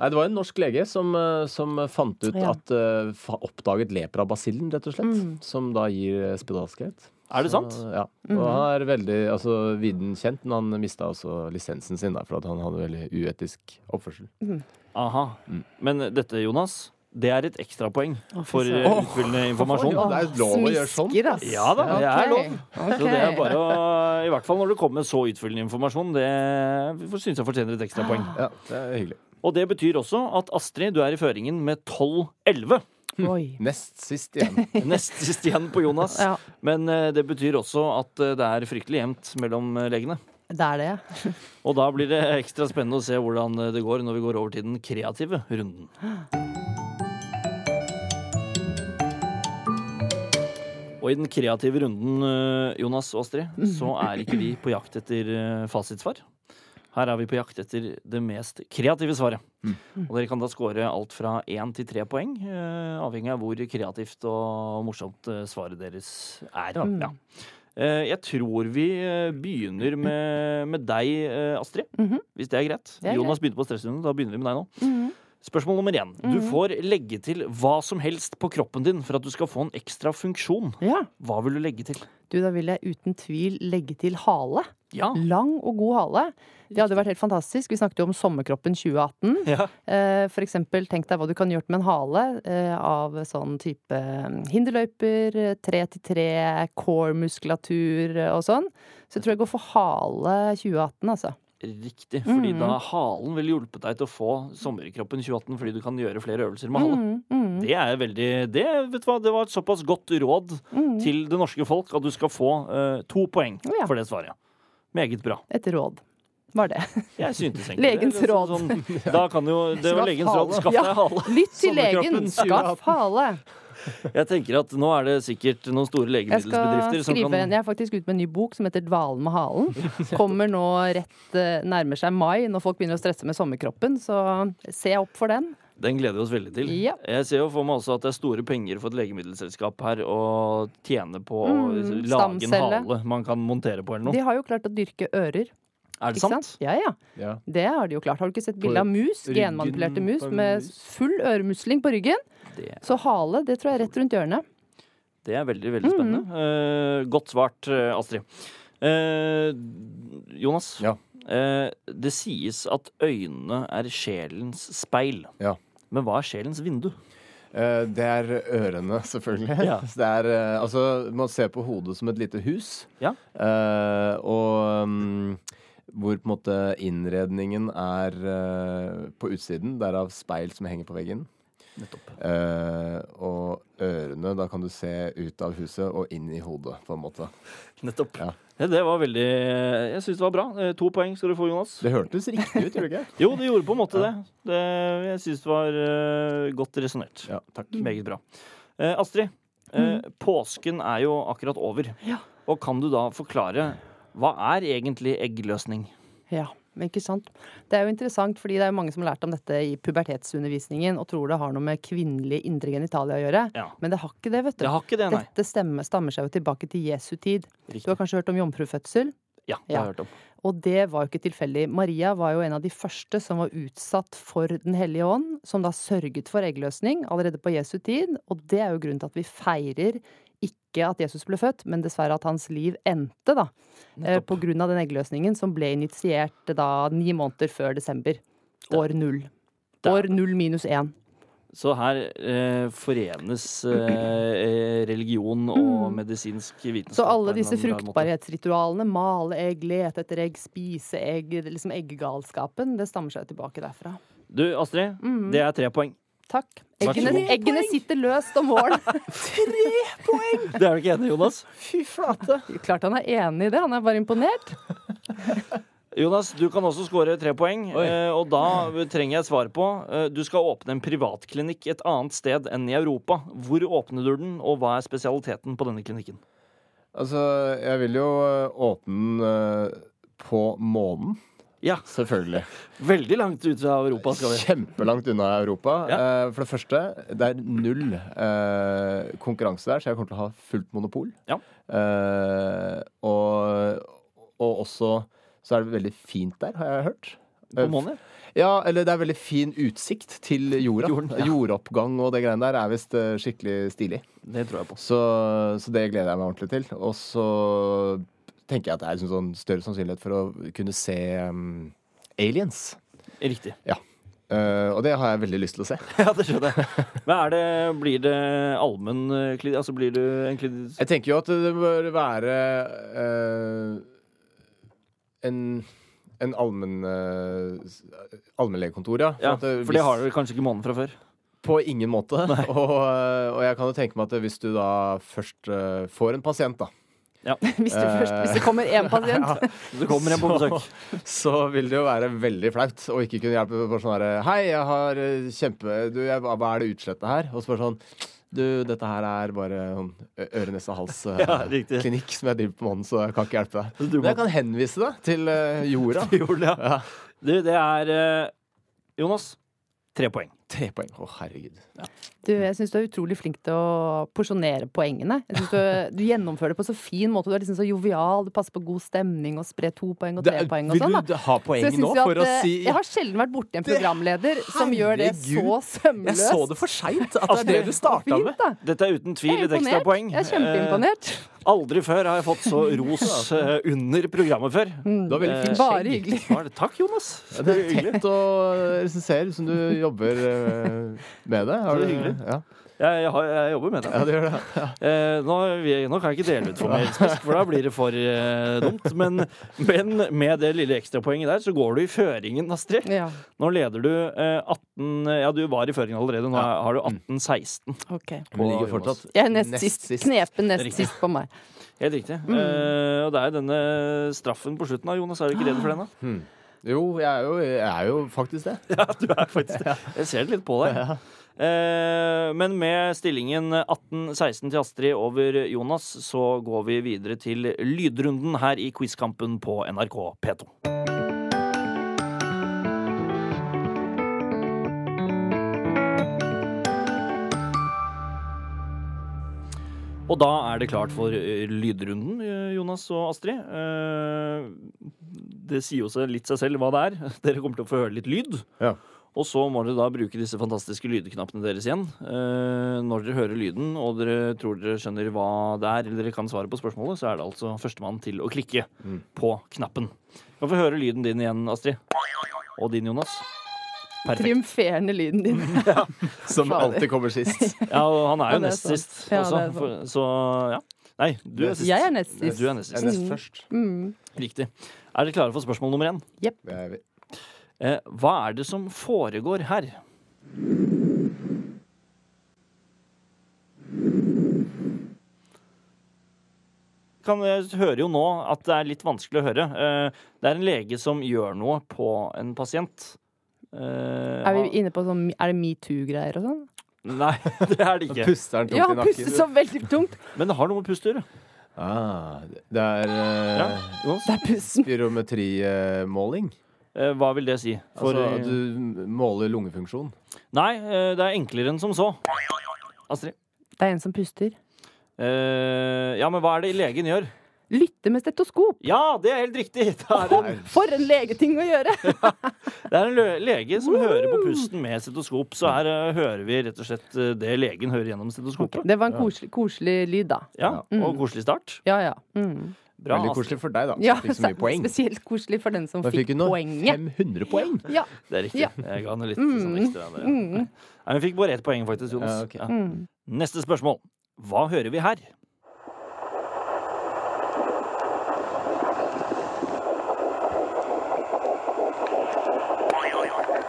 Nei, det var en norsk lege som, eh, som fant ut
Ja.
at eh, fa- Oppdaget leprabasillen, rett og slett. Som da gir eh, spedalskhet.
Er det sant?
Så, ja. Og han er veldig altså, viden kjent, men han mista også lisensen sin da, for at han hadde veldig uetisk oppførsel.
Aha. Men dette, Jonas, det er et ekstrapoeng for eh,
søren.
utfyllende informasjon.
Åh, det er lov å gjøre sånn.
Smisker, ass.
Ja da, det er
Ok.
lov.
Ok.
Så det er bare å I hvert fall når det kommer så utfyllende informasjon. Det syns jeg fortjener et ekstrapoeng.
Ja, det er hyggelig.
Og det betyr også at Astrid, du er i føringen med 12-11.
Oi.
Nest sist igjen.
Nest sist igjen på Jonas.
Ja,
Men eh, det betyr også at eh, det er fryktelig jevnt mellom eh, legene.
det er det, ja.
Og da blir det ekstra spennende å se hvordan eh, det går når vi går over til den kreative runden. Og i den kreative runden, eh, Jonas og Astrid, så er ikke vi på jakt etter eh, fasitsvar. Her er vi på jakt etter det mest kreative svaret.
Mm.
Og dere kan da score alt fra én til tre poeng, eh, avhengig av hvor kreativt og morsomt eh, svaret deres er.
Mm.
Ja. Eh, Jeg tror vi eh, begynner med, med deg, eh, Astrid. Hvis det er greit.
Mhm. Det er
Jonas begynte på stressrunden, da begynner vi med deg nå.
Mm.
Spørsmål nummer én. Du
Mhm.
får legge til hva som helst på kroppen din for at du skal få en ekstra funksjon.
ja.
Hva vil du legge til?
Du, da vil jeg uten tvil legge til hale.
Ja.
Lang og god hale. Det hadde vært helt fantastisk. Vi snakket jo om sommerkroppen 2018.
ja.
Eh, For eksempel, tenk deg hva du kan gjort med en hale eh, av sånn type eh, hinderløyper, eh, tre til tre, core-muskulatur eh, og sånn. Så jeg tror jeg går for hale 2018, altså.
Riktig. Fordi
Mm.
da halen ville hjulpet deg til å få sommerkroppen 2018 fordi du kan gjøre flere øvelser med hale.
Mm, mm.
Det er veldig Det, vet du hva, det var et såpass godt råd til det norske folk at du skal få eh, to poeng
Mm. Ja.
for det svaret. Meget bra.
Et råd. Var det.
Jeg syntes egentlig
Legens
det. Det er
råd.
Sånn, da kan jo Det var
Skaff
legens råd.
hale.
Skaff deg hale.
Lytt til legen!
Sommerkroppen 2018.
Skaff hale!
Jeg tenker at nå er det sikkert noen store
Jeg skal
legemiddelbedrifter som
skrive en,
kan
jeg er faktisk ute med en ny bok som heter 'Dvalen med halen'. Kommer nå rett eh, Nærmer seg mai, når folk begynner å stresse med sommerkroppen. Så se opp for den.
Den gleder vi oss veldig til.
Ja.
Jeg ser jo for meg også at det er store penger for et legemiddelselskap her å tjene på å
Mm,
lage en
stamcelle.
hale man kan montere på eller
De
noe.
har jo klart å dyrke ører.
Er det
Ikke
sant?
sant? Ja, ja.
Ja.
Det har de jo klart. Har du ikke sett bilde av mus?
ryggen
Genmanipulerte mus
på en
med
mus.
full øremusling på ryggen.
Det,
Så hale, det tror jeg er rett rundt hjørnet.
det er veldig, veldig spennende.
Mhm.
Eh, godt svart, eh, Astrid. Eh, Jonas,
Ja.
Eh, det sies at øynene er sjelens speil.
Ja.
Men hva er sjelens vindu?
Eh, det er ørene, selvfølgelig.
Ja.
Så det er, eh, altså, man ser på hodet som et lite hus.
Ja.
Eh, og mm, hvor på en måte innredningen er eh, på utsiden. Derav speil som henger på veggen.
Nettopp.
Eh, og ørene, da kan du se ut av huset og inn i hodet, på en måte.
Nettopp.
Ja.
Ja, Det var veldig Jeg syns det var bra. Eh, To poeng skal du få, Jonas.
Det hørtes riktig ut, gjorde det ikke?
Jo, det gjorde på en måte det. det jeg syns det var eh, godt resonnert.
Ja, takk.
Meget bra. Eh, Astrid, eh, påsken er jo akkurat over.
Mm. Ja.
Og kan du da forklare Hva er egentlig eggløsning?
Ja, men ikke sant. Det er jo interessant, fordi det er jo mange som har lært om dette i pubertetsundervisningen og tror det har noe med kvinnelige indre genitalia å gjøre.
Ja.
Men det har ikke det, vet du.
Det har ikke det, nei.
Dette stemme, stammer seg jo tilbake til Jesu tid. Du
Riktig.
har kanskje hørt om jomfrufødsel?
Ja, det har
Ja.
jeg hørt om.
Og det var jo ikke tilfeldig. Maria var jo en av de første som var utsatt for Den hellige ånd, som da sørget for eggløsning allerede på Jesu tid. Og det er jo grunnen til at vi feirer ikke at Jesus ble født, men dessverre at hans liv endte, da. eh, På grunn av den eggløsningen som ble initiert eh, da ni måneder før desember. År null.
Der.
År null minus én.
Så her eh, forenes eh, religion og medisinsk vitenskap.
Mm. Så
på
alle
en
disse
eller annen rar måte.
fruktbarhetsritualene, male egg, lete etter egg, spise egg, liksom eggegalskapen, det stammer seg jo tilbake derfra.
Du, Astrid,
Mm.
det er tre poeng.
Takk.
Vær så
Eggene,
god.
eggene sitter løst om våren.
Det er du ikke enig i, Jonas?
Fy flate!
Klart han er enig i det, han er bare imponert.
Jonas, du kan også score tre poeng,
Oi.
eh, og da trenger jeg et svar på. eh, Du skal åpne en privatklinikk et annet sted enn i Europa. Hvor åpner du den, og hva er spesialiteten på denne klinikken?
Altså, jeg vil jo eh, åpne den eh, på månen.
Ja,
Selvfølgelig.
veldig langt ut fra Europa skal vi.
Kjempelangt unna Europa.
Ja.
Eh, For det første, det er null eh, konkurranse der, så jeg kommer til å ha fullt monopol.
Ja.
Eh, og, og også så er det veldig fint der, har jeg hørt. Eh,
På månen, ja.
Ja, eller det er veldig fin utsikt til jorda.
Jorden, ja.
Jordoppgang og det greiene der er visst eh, skikkelig stilig.
Det tror jeg på.
Så, så det gleder jeg meg ordentlig til. Og så tenker jeg at det er liksom sånn større sannsynlighet for å kunne se um, aliens.
Riktig.
Ja. Eh, og det har jeg veldig lyst til å se.
Ja, det skjønner jeg. Men er det, blir det allmenn eh, klin- Altså blir du en klin-
Jeg tenker jo at det bør være eh, en en allmenn eh, allmennlegekontor, ja.
Ja,
at, eh,
for det
hvis-
har du kanskje ikke månen fra før.
På ingen måte. Og, eh, og jeg kan jo tenke meg at hvis du da først eh, får en pasient, da,
Hvis,
Eh.
du først, hvis det kommer én pasient.
Du kommer hjem på
Så-
besøk.
så vil det jo være veldig flaut å ikke kunne hjelpe på sånn herre Hei, jeg har eh, kjempe... Du, jeg, hva hva er det utslettet her? Og så bare sånn Du, dette her er bare sånn
Ja, riktig.
øre-nese-hals-klinikk eh, som jeg driver på månen, så jeg kan ikke hjelpe deg.
Du
Men jeg kan henvise deg til eh, jorda.
Jorda.
Ja.
Du, det er eh, Jonas, tre poeng.
Tre poeng. Å, herregud.
Du, jeg syns du er utrolig flink til å porsjonere poengene. Jeg synes du, du gjennomfører det på så fin måte. Du er liksom så jovial, du passer på god stemning og sprer to poeng og tre poeng og sånn. da.
vil du ha
Så jeg
poeng
synes
nå
jo
for å
at, eh,
si
Jeg har sjelden vært borti en programleder som gjør det så
Herregud. Jeg
sømløst.
så det for seint at det er det du starta med.
Altså, Fint, da.
Dette er uten
Jeg
tvil
er
et ekstra
imponert.
poeng.
Jeg er kjempeimponert.
Eh, aldri før har jeg fått så ros eh, under programmet før.
Du har
Eh,
veldig fint
Eh,
skjegg.
Bare hyggelig.
Hva er det? Takk, Jonas.
Ja, det er hyggelig å resensere som du jobber eh, med det. Har
Det er
du-
hyggelig.
Ja.
Jeg, jeg, har- jeg jobber med det.
ja, det gjør det.
Eh, nå, vi- nå kan jeg ikke dele ut for mer spisk, for da blir det for eh, dumt. Men, men med det lille ekstrapoenget der, så går du i føringen, Astrid.
Ja,
Nå leder du eh, 18 Ja, du var i føringen allerede. Nå er- har du 18-16.
ok.
Men det ligger fortsatt
Jeg er nest,
Nest
sist.
sist.
Knepen nest
Riktig.
sist på meg.
Helt riktig. Eh, og det er jo denne straffen på slutten da, Jonas. Er du ikke redd
Ah.
for den, da?
Jo, jeg er jo, jeg er jo faktisk det.
Ja, du er faktisk det. Jeg ser det litt på deg. Eh, men med stillingen 18-16 til Astrid over Jonas, så går vi videre til lydrunden her i Quizkampen på NRK P2. Og da er det klart for eh, lydrunden, eh, Jonas og Astrid. Eh, Det sier jo seg litt seg selv hva det er. Dere kommer til å få høre litt lyd.
Ja.
Og så må dere da bruke disse fantastiske lydknappene deres igjen. Eh, Når dere hører lyden og dere tror dere skjønner hva det er, eller dere kan svaret på spørsmålet, så er det altså førstemann til å klikke på knappen. Du kan få høre lyden din igjen, Astrid. Og din, Jonas. Perfekt.
Triumferende lyden din.
Som
Fader.
alltid kommer sist.
Ja, og han er jo
Ja, det er
nest
sant.
sist
Ja,
også.
det er sant.
for- Så ja. Nei, du er sist.
Jeg er nest sist.
Du er nest sist.
Nest først.
Riktig. Er dere klare for spørsmål nummer én?
Jeg vet-
Eh, hva er det som foregår her? Kan, jeg hører jo nå at det er litt vanskelig å høre. Eh, det er en lege som gjør noe på en pasient. Eh,
Er vi inne på sånn Er det metoo-greier og sånn?
Nei, det er det ikke.
Puster den tungt
Ja,
i
han
nakken.
puster så veldig tungt.
Men det har noe med pust å gjøre.
Ah, det er eh,
Det er pusten.
spirometrimåling.
Eh, Hva vil det si? For, eh,
altså at du måler lungefunksjon.
Nei, eh, det er enklere enn som så. Astrid?
Det er en som puster.
Eh, ja, men hva er det legen gjør?
Lytter med stetoskop.
Ja, det er helt riktig! Det er en,
For en legeting å gjøre!
det er en lø- lege som hører på pusten med stetoskop. Så her eh, hører vi rett og slett eh, det legen hører gjennom stetoskopet.
Det var en koselig, koselig lyd, da.
Ja, Og koselig start.
Ja, ja. Mm.
Bra. altså.
Veldig
Astrid.
koselig for deg, da.
ja
som fikk så mye poeng.
Spesielt koselig for den som
Da
fikk
fikk hun nå
poenget.
500 poeng.
Ja.
Det er riktig.
Ja.
Jeg ga henne litt sånn ekstra. der. Nei, Hun fikk bare ett poeng, faktisk, Jonas.
Mm. Ja, ok. Mm.
Ja. Neste spørsmål. Hva hører vi her?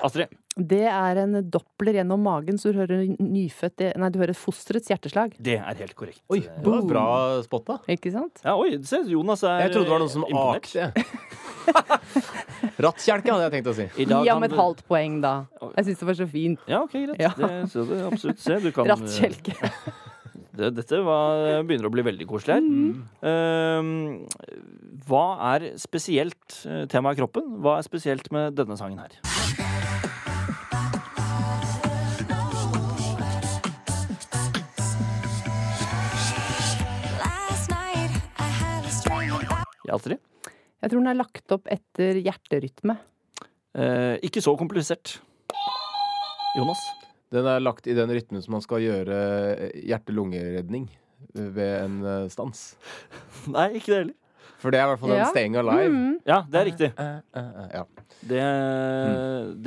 Astrid.
Det er en doppler gjennom magen, så du hører nyfødt Nei, du hører fosterets hjerteslag.
Det er helt korrekt.
Oi, det var bra spotta.
Ikke sant?
Ja, oi, se, Jonas er
Jeg trodde det var noen som
eh, imponert.
akte. Rattkjelke hadde jeg tenkt å si.
I dag
Gi ham
kan
et
du-
halvt poeng, da. Jeg syns det var så fint.
Ja, ok, greit.
Ja.
Det, så det, absolutt. Se, du kan eh,
Rattkjelke.
Det, dette var, eh, begynner å bli veldig koselig her.
Mm.
Eh, hva er spesielt eh, temaet kroppen? Hva er spesielt med denne sangen her?
Last night I had a string of
Ja, Astrid?
Jeg tror den er lagt opp etter hjerterytme.
Eh, ikke så komplisert. Jonas?
Den er lagt i den rytmen som man skal gjøre hjerte-lungeredning ved en eh, stans.
Nei, ikke det heller.
For det er i hvert fall den
Ja. Mm.
staying alive.
Ja, det er riktig.
Ja.
Det,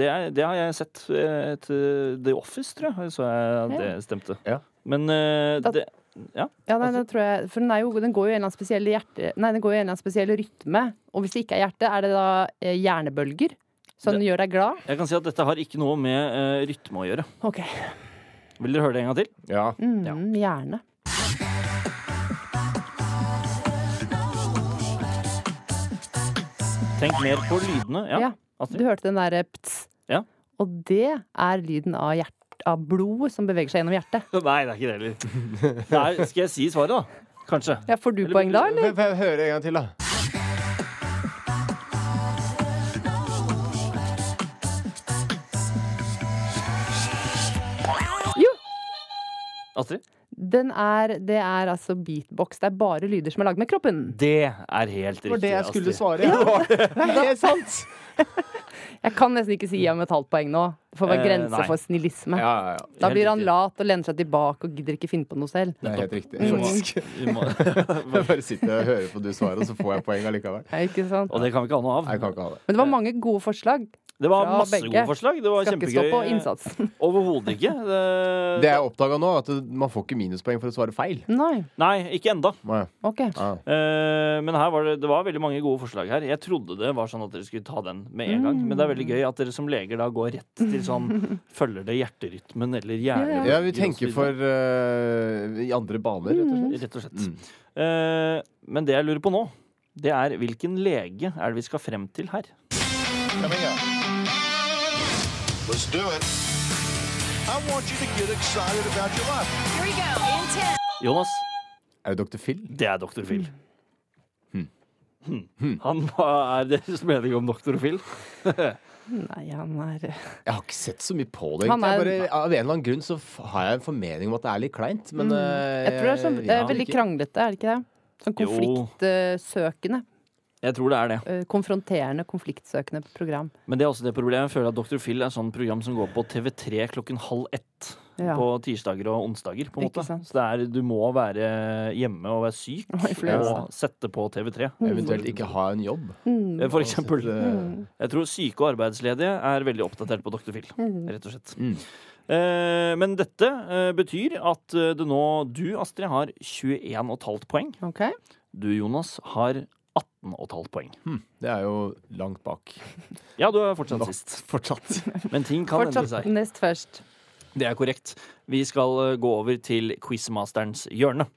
det, er, det har jeg sett eh, et eh, The Office, tror jeg. Så jeg at det stemte.
Ja.
Men eh,
Da-
det
Ja, nei, det tror jeg, for den, er jo, den går jo i en eller annen spesiell hjerte... Nei, den går jo i en eller annen spesiell rytme. Og hvis det ikke er hjerte, er det da eh, hjernebølger? Så den gjør deg glad?
Jeg kan si at dette har ikke noe med eh, rytme å gjøre.
OK.
Vil dere høre det en gang til?
ja.
Mm,
Ja.
Hjerne.
Tenk mer på lydene. Ja.
Ja. Du
Astrid?
hørte den derre pts.
Ja.
Og det er lyden av, hjert, av blodet som beveger seg gjennom hjertet.
Nei, det er ikke det heller. Det er- Skal jeg si svaret, da? Kanskje.
Ja, får du poeng da, eller?
Får får jeg høre en gang til, da?
Astrid?
Den er, det er altså beatbox. Det er bare lyder som er lagd med kroppen.
Det er helt riktig.
Det var det jeg skulle
Astrid.
svare. Det er helt sant!
Jeg kan nesten ikke si ham et halvt poeng nå. Det får være
Eh,
grense
nei.
for snillisme.
Ja, ja, ja.
Da
Helt
blir han
riktig.
lat og lener seg tilbake og gidder ikke finne på noe selv.
Det er helt riktig.
Vi
Mm.
må- vi må-
Jeg bare sitter og hører på du svarer, og så får jeg poeng allikevel.
Ja, ikke sant?
Og det kan vi ikke ha noe av.
Jeg kan ikke ha det.
Men det var mange gode forslag.
Det var
Fra
masse
begge.
gode forslag. Det var
Skal ikke stå på
kjempegøy.
innsatsen.
Overhodet ikke. Det-
Det jeg oppdaga nå, er at man får ikke minuspoeng for å svare feil.
Nei.
Nei, ikke enda.
Nei.
OK.
Ah.
Eh, Men her var det, det var veldig mange gode forslag her. Jeg trodde det var sånn at dere skulle ta den med en gang. Men det er veldig gøy at dere som leger da går rett til sånn Følger det hjerterytmen eller hjernen?
Ja, vi tenker for eh, i andre baner, rett og slett.
Rett og slett. Eh, men det jeg lurer på nå, det er hvilken lege er det vi skal frem til her?
Let's do it. I want you to get excited about your life.
Here we go. In 10.
Jonas,
Er det Dr. Phil?
det er doktor Phil. Mm. Hmm. Han, hva er deres mening om doktor Phil?
Nei, han er
Jeg har ikke sett så mye på det.
Han
egentlig. Jeg
er-
bare, av en eller annen grunn så f- har jeg en formening om at det er litt kleint, men eh,
Mm. Jeg tror det er, sånn, det er
ja,
veldig
ikke-
kranglete, er det ikke det? Sånn
Jo.
konfliktsøkende.
Jeg tror det er det.
eh, Konfronterende, konfliktsøkende program.
Men det er også det problemet. Jeg føler at Dr. Phil er sånn program som går på TV3 klokken halv ett
Ja.
på tirsdager og onsdager. på en
Ikke
måte.
sant.
Så det er, du må være hjemme og være syk
Og influensa.
og sette på TV3.
mm.
Eventuelt ikke ha en jobb.
Eh, For eksempel.
Mm.
Jeg tror syke og arbeidsledige er veldig oppdatert på Dr. Phil, rett og slett.
Mm.
Eh, men dette eh, betyr at eh, det nå du, Astrid, har 21,5 poeng.
OK?
Du, Jonas, har 18,5 poeng.
Det er jo langt bak.
Ja, du er fortsatt sist.
Fortsatt.
Men ting kan endre
Fortsatt
seg.
nest først.
Det er korrekt. Vi skal eh, gå over til quizmasterens hjørne.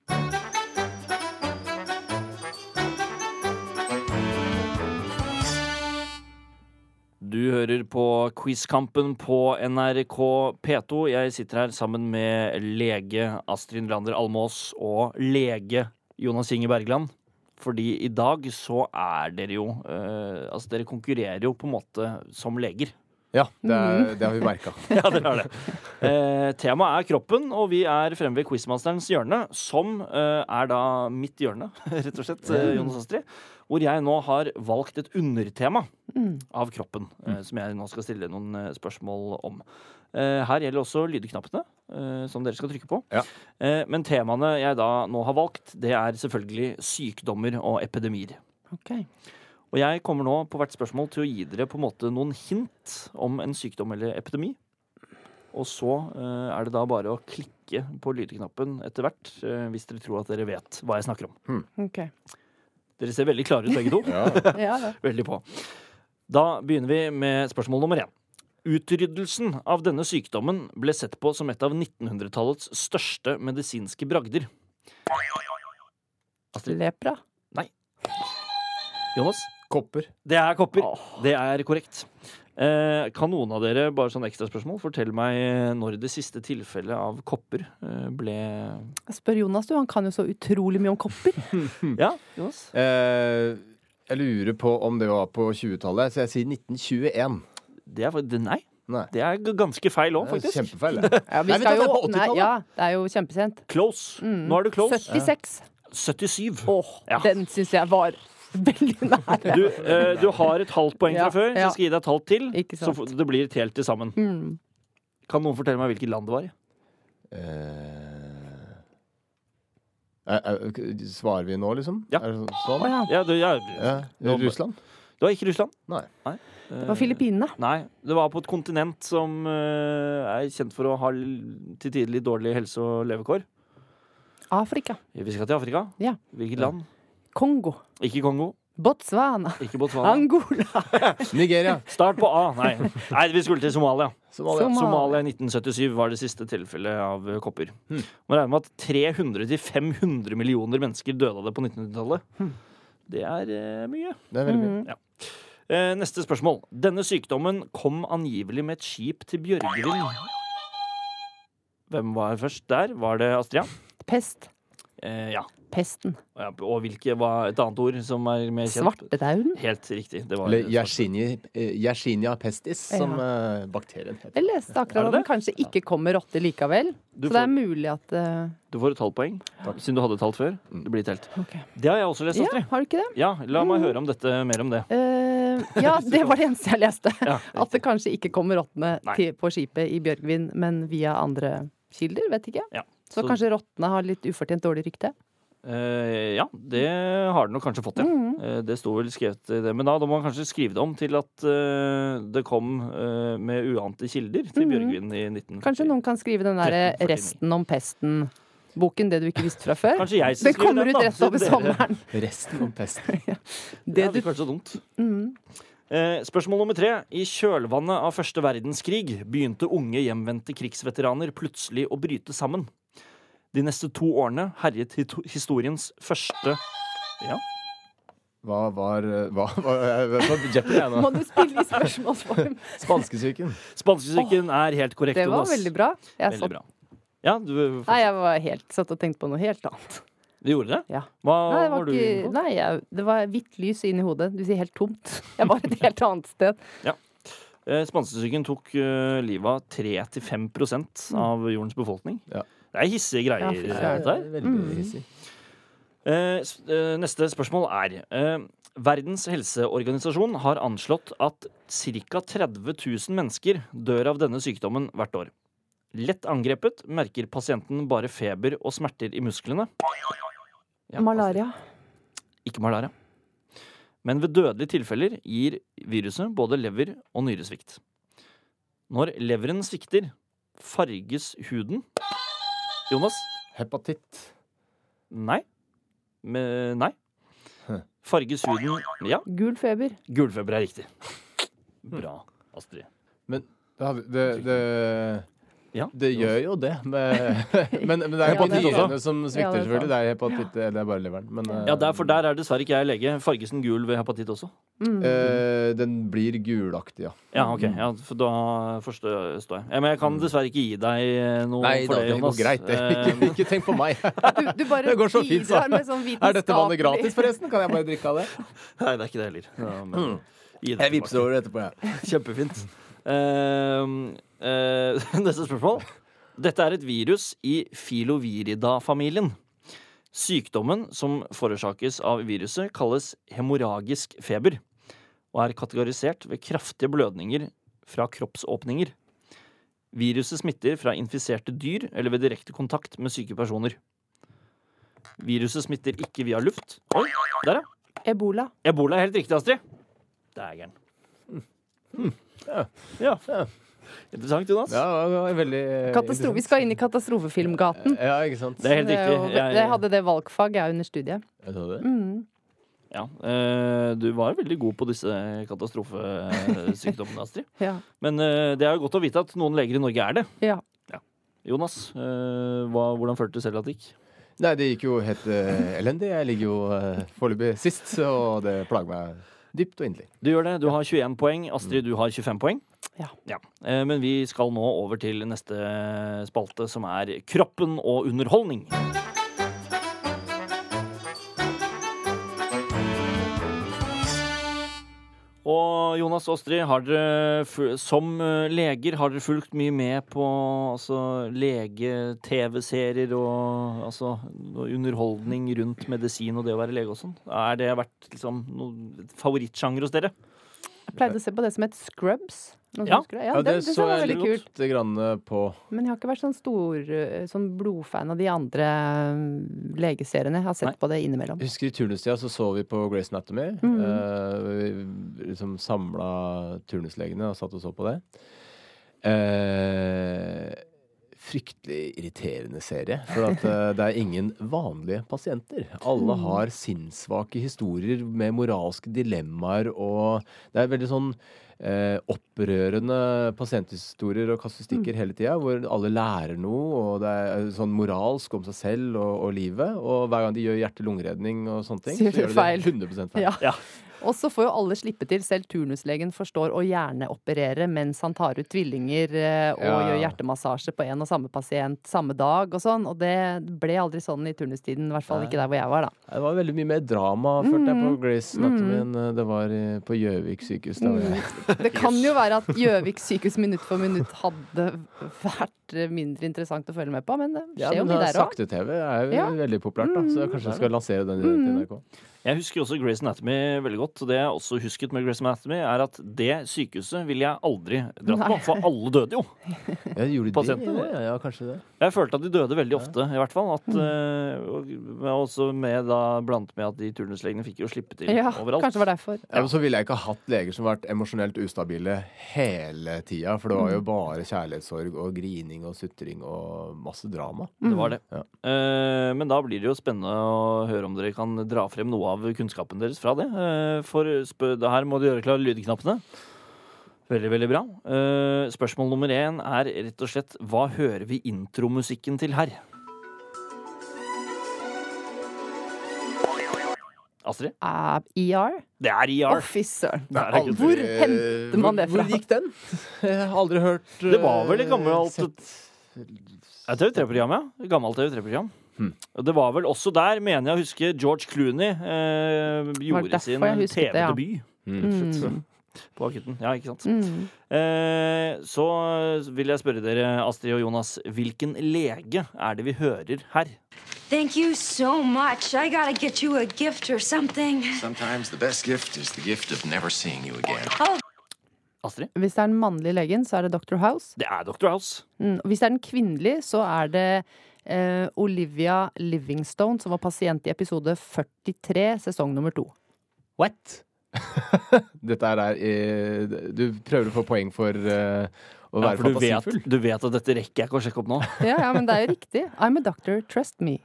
Du hører på Quizkampen på NRK P2. Jeg sitter her sammen med lege Astrid Lander Almås og lege Jonas Inge Bergland. Fordi i dag så er dere jo eh, Altså, dere konkurrerer jo på en måte som leger.
Ja, det, er,
Mm.
det har vi merka.
Ja, dere har det. Eh, temaet er kroppen, og vi er fremme ved Quizmasterens hjørne, som eh, er da mitt hjørne, rett og slett, eh, Jonas Astrid. Hvor jeg nå har valgt et undertema av kroppen, eh, som jeg nå skal stille noen eh, spørsmål om. Eh, her gjelder også lydknappene, eh, som dere skal trykke på.
Ja.
Eh, men temaene jeg da nå har valgt, det er selvfølgelig sykdommer og epidemier.
Ok.
Og jeg kommer nå på hvert spørsmål til å gi dere på en måte noen hint om en sykdom eller epidemi. Og så eh, er det da bare å klikke på lydknappen etter hvert eh, hvis dere tror at dere vet hva jeg snakker om.
ok.
Dere ser veldig klare ut begge to.
Ja, ja.
Veldig på. Da begynner vi med spørsmål nummer én. Utryddelsen av denne sykdommen ble sett på som et av 1900-tallets største medisinske bragder. Astrid?
Lepra.
Jonas?
Kopper.
Det er kopper. Det er korrekt. Eh, kan noen av dere bare sånn ekstraspørsmål fortelle meg når det siste tilfellet av kopper eh, ble
Jeg spør Jonas, du. Han kan jo så utrolig mye om kopper.
Hmm.
Ja, Jonas?
Eh, jeg lurer på om det var på 20-tallet, så jeg sier 1921.
Det er, fa- det- nei,
Nei.
det er g- ganske feil òg,
Det er
faktisk.
Kjempefeil. det.
Ja,
Nei, vi tar det på
nei,
80-tallet.
ja, det er jo kjempesent.
Close. Nå er du close.
76.
77.
Mm. Åh,
Ja.
den syns jeg var veldig nære.
Du, eh, du har et halvt poeng fra
Ja,
før, så
ja.
jeg skal gi deg et halvt til.
Ikke
Så
sant. Mm.
f- det blir et helt til sammen. Kan noen fortelle meg hvilket land det var i?
Eh, eh, eh, svarer vi nå, liksom?
Ja.
Er det sånn- sånn?
Å ja.
Ja, det, ja.
Ja.
Nå-
Russland?
det var ikke Russland.
Nei.
Det var Filippinene.
Nei, det var på et kontinent som eh, er kjent for å ha l- til tider litt dårlig helse og levekår.
Afrika.
Vi skal til Afrika.
Ja.
Hvilket land?
Kongo.
Ikke Kongo,
Botswana.
ikke Botswana.
Angola.
Nigeria.
Start på A. Nei. Nei, vi skulle til Somalia.
Somalia.
Somalia.
Somalia i 1977 var det siste tilfellet av eh, kopper. Man regner med at 300-500 millioner mennesker døde av det på 1900-tallet. Det er eh, mye.
Det er veldig mye.
Eh, neste spørsmål. Denne sykdommen kom angivelig med et skip til Bjørgvin. Hvem var først der? Var det Astrid? ja?
Pest.
Eh, ja.
Pesten.
Og ja, Og hvilke var et annet ord som er mer kjent?
Svartedauden.
Helt riktig. Det var
Eller Yersinia, eh, Yersinia pestis, som eh, bakterien heter.
Jeg leste akkurat
Er det
at den kanskje ikke kommer rotte likevel.
Du
så det
får-
er mulig at eh,
Du får et halvt poeng, siden du hadde et halvt før. Det blir telt.
Ok.
Det har jeg også lest,
Ja, Mm.
Astrid.
har du ikke det?
Ja, la meg høre om dette, mer om det.
Eh, ja, det var det eneste jeg leste.
Ja,
At det kanskje ikke kommer rottene
Nei.
til, på skipet i Bjørgvin, men via andre kilder. Vet ikke.
Ja.
Så,
Så-
kanskje rottene har litt ufortjent dårlig rykte.
Eh, ja, det har den nok kanskje fått, ja.
Mm.
Eh, det sto vel skrevet i det. Men da, da må man kanskje skrive det om til at eh, det kom eh, med uante kilder til Bjørgvin i 1940.
Mm. Kanskje noen kan skrive den derre
1349.
Resten om pesten-boken, det du ikke visste fra før.
Kanskje jeg skal
Den
skrive
kommer
den,
ut
da,
rett
så
over
dere-
sommeren.
Resten om pesten.
Det
Det
hadde
du Mm.
ikke vært så dumt. Eh, spørsmål nummer tre. I kjølvannet av første verdenskrig begynte unge hjemvendte krigsveteraner plutselig å bryte sammen. De neste to årene herjet hito- historiens første Ja,
Hva var eh, Hva var jeg var på Jeopardy jeg nå?
må du spille i spørsmålsform.
Spanskesyken.
spanskesyken er helt korrekt,
Det var
Jonas.
veldig bra. Jeg
Veldig
satt,
bra. Ja, du,
nei, jeg var helt, satt og tenkte på noe helt annet.
du gjorde det?
Ja.
Hva
Nei,
var,
det var,
du
ikke,
inne på?
nei jeg, det var hvitt lys inn i hodet. Du sier helt tomt. Jeg var et helt annet sted.
Eh, Spanskesyken tok eh, livet av 3-5 av jordens befolkning.
Ja.
Det er hissige greier.
Mm. Ja, fy
eh,
søren.
dette her.
Veldig hissig.
Eh, s- eh, Neste spørsmål er eh, Verdens helseorganisasjon har anslått at ca. 30 000 mennesker dør av denne sykdommen hvert år. Lett angrepet merker pasienten bare feber og smerter i musklene. Ja, altså,
Malaria.
Ikke malaria. Men ved dødelige tilfeller gir viruset både lever- og nyresvikt. Når leveren svikter, farges huden Jonas?
Hepatitt.
Nei. Men, nei. Farges huden Ja,
Gul feber.
gulfeber er riktig. Bra, Astrid.
Men det, hadde- det, det
Ja.
Det gjør jo det. Men, men, men det er
Ja, det-
hepatitene som
Ja,
svikter,
det er
selvfølgelig. Det er, hepatitt, det er bare leveren. Men eh,
Ja, der, for der er dessverre ikke jeg lege. Farges den gul ved hepatitt også?
Mm.
eh, den blir gulaktig, ja.
Ja, ok. Ja, for da forstår jeg. Ja, men jeg kan dessverre ikke gi deg noe
Nei
for
da,
det,
det eh. går
Jonas. Eh,
greit. Det. Ikke, ikke tenk på meg.
Du, du bare
Det går så fint, så.
bidrar med sånn
Er dette vannet
vitenskapelig-
gratis, forresten? Kan jeg bare drikke av det?
Eh, Nei, det er ikke det heller. Ja, men, gi det
Hm. Jeg vippser over det etterpå, jeg.
tilbake. Kjempefint. Eh, eh, neste spørsmål. Dette er et virus i filovirida-familien. Sykdommen som forårsakes av viruset, kalles hemorragisk feber og er kategorisert ved kraftige blødninger fra kroppsåpninger. Viruset smitter fra infiserte dyr eller ved direkte kontakt med syke personer. Viruset smitter ikke via luft. Oi, der ja.
Ebola.
Ebola er helt riktig, Astrid. Dægeren. Ja. ja. Interessant, Jonas.
Ja, det var veldig eh,
Katastrofe. Vi skal inn i katastrofefilmgaten.
Ja, ikke sant?
Det er helt
Det er jo-
riktig. Jeg-
Jeg hadde det valgfag jeg under studiet.
Jeg sa det.
Mm.
Ja, eh, du var veldig god på disse katastrofesykdommene, Astrid.
Ja.
Men eh, det er jo godt å vite at noen leger i Norge er det.
ja.
Jonas, eh, hva, hvordan følte du selv at det gikk?
Nei, det gikk jo helt eh, elendig. Jeg ligger jo eh, foreløpig sist, og det plager meg dypt og inderlig.
Du gjør det. Du har 21 poeng. Astrid, du har 25 poeng.
Ja.
Eh, Men vi skal nå over til neste spalte, som er kroppen og underholdning. Og Jonas og Astrid, har dere, fu- som eh, leger, har dere fulgt mye med på altså, lege-TV-serier og altså, noe underholdning rundt medisin og det å være lege og sånn? Er det vært liksom, noen favorittsjanger hos dere?
Jeg pleide å se på det som het Scrubs. Noen
Ja.
som husker det? ja, det, det,
så
var
jeg
veldig kult.
lite grann på.
Men jeg har ikke vært sånn stor eh, sånn blodfan av de andre eh, legeseriene. Jeg har sett
Nei.
på det innimellom.
Jeg husker i turnustida så så vi på Grace Anatomy. Eh, vi liksom samla turnuslegene og satt og så på det. Eh, fryktelig irriterende serie. For at eh, det er ingen vanlige pasienter. Alle har sinnssvake historier med moralske dilemmaer og Det er veldig sånn eh, opprørende pasienthistorier og kasustikker hele tida, hvor alle lærer noe, og det er sånn moralsk om seg selv og, og livet. Og hver gang de gjør hjerte-lungeredning og sånne ting,
Sier
så
du
gjør de
feil?
det 100 feil.
Ja.
Ja.
Og så får jo alle slippe til. Selv turnuslegen forstår å hjerneoperere mens han tar ut tvillinger eh, og
Ja.
gjør hjertemassasje på en og samme pasient samme dag og sånn. Og det ble aldri sånn i turnustiden. I hvert fall ikke der hvor jeg var, da.
Det var veldig mye mer drama, følte jeg, på Grace Anatomy enn eh, det var i- på Gjøvik sykehus. Da. var jeg-
Det kan jo være at Gjøvik sykehus minutt for minutt hadde vært mindre interessant å følge med på, men det
Ja,
skjer jo
men
mye
da,
der òg.
Sakte-TV er jo
Ja. Mm.
veldig populært, da, så kanskje jeg skal lansere den til NRK.
Jeg husker også Grey's Anatomy veldig godt. og Det jeg også husket med Grey's Anatomy, er at det sykehuset ville jeg aldri dratt på,
Nei.
for alle døde jo.
Ja, gjorde de det?
Pasienter?
Ja, ja, kanskje det.
Jeg følte at de døde veldig ofte, i hvert fall.
Mm.
At, eh, og, men også med da, blant med at de turnuslegene fikk jo slippe til
Ja,
overalt.
kanskje det var derfor.
Ja, men så ville jeg ikke ha hatt leger som har vært emosjonelt ustabile hele tida. For det var jo bare kjærlighetssorg og grining og sutring og masse drama.
Det var det.
Ja.
Eh, men da blir det jo spennende å høre om dere kan dra frem noe av kunnskapen deres fra det. Eh, for spø det her må du gjøre klar lydknappene. Veldig, veldig bra. Eh, spørsmål nummer én er rett og slett hva hører vi intromusikken til her? Astrid?
Eh, ER?
Det er IR.
Å, fy søren.
Det er ikke-
Hvor henter man det fra?
Hvor gikk den? Jeg har aldri hørt
Det var vel et
eh,
gammelt-
sett-
Ja, TV3-program, ja. Gammelt TV3-program.
Hmm.
Og Det var vel også der, mener jeg å huske, George Clooney eh, gjorde
derfor
sin
jeg husket det, ja. Mm.
TV-debut.
Hmm.
På akutten. Ja, ikke sant. Eh, så vil jeg spørre dere, Astrid og Jonas, hvilken lege er det vi hører her?
Thank you so much. I gotta get you a gift or something.
Sometimes the best gift is the gift of never seeing you again.
Astrid?
Hvis det er den mannlige legen, så er det Dr. House.
Det er Dr. House.
Mm, og Hvis det er den kvinnelige, så er det eh, Olivia Livingstone, som var pasient i episode 43, sesong nummer to.
What? Dette er der eh, Du prøver å få poeng for eh, å å
Ja,
være
for du vet,
fantasifull.
du vet at dette rekker jeg ikke å sjekke opp nå.
Ja, ja, men det er jo riktig. I'm a doctor, trust me.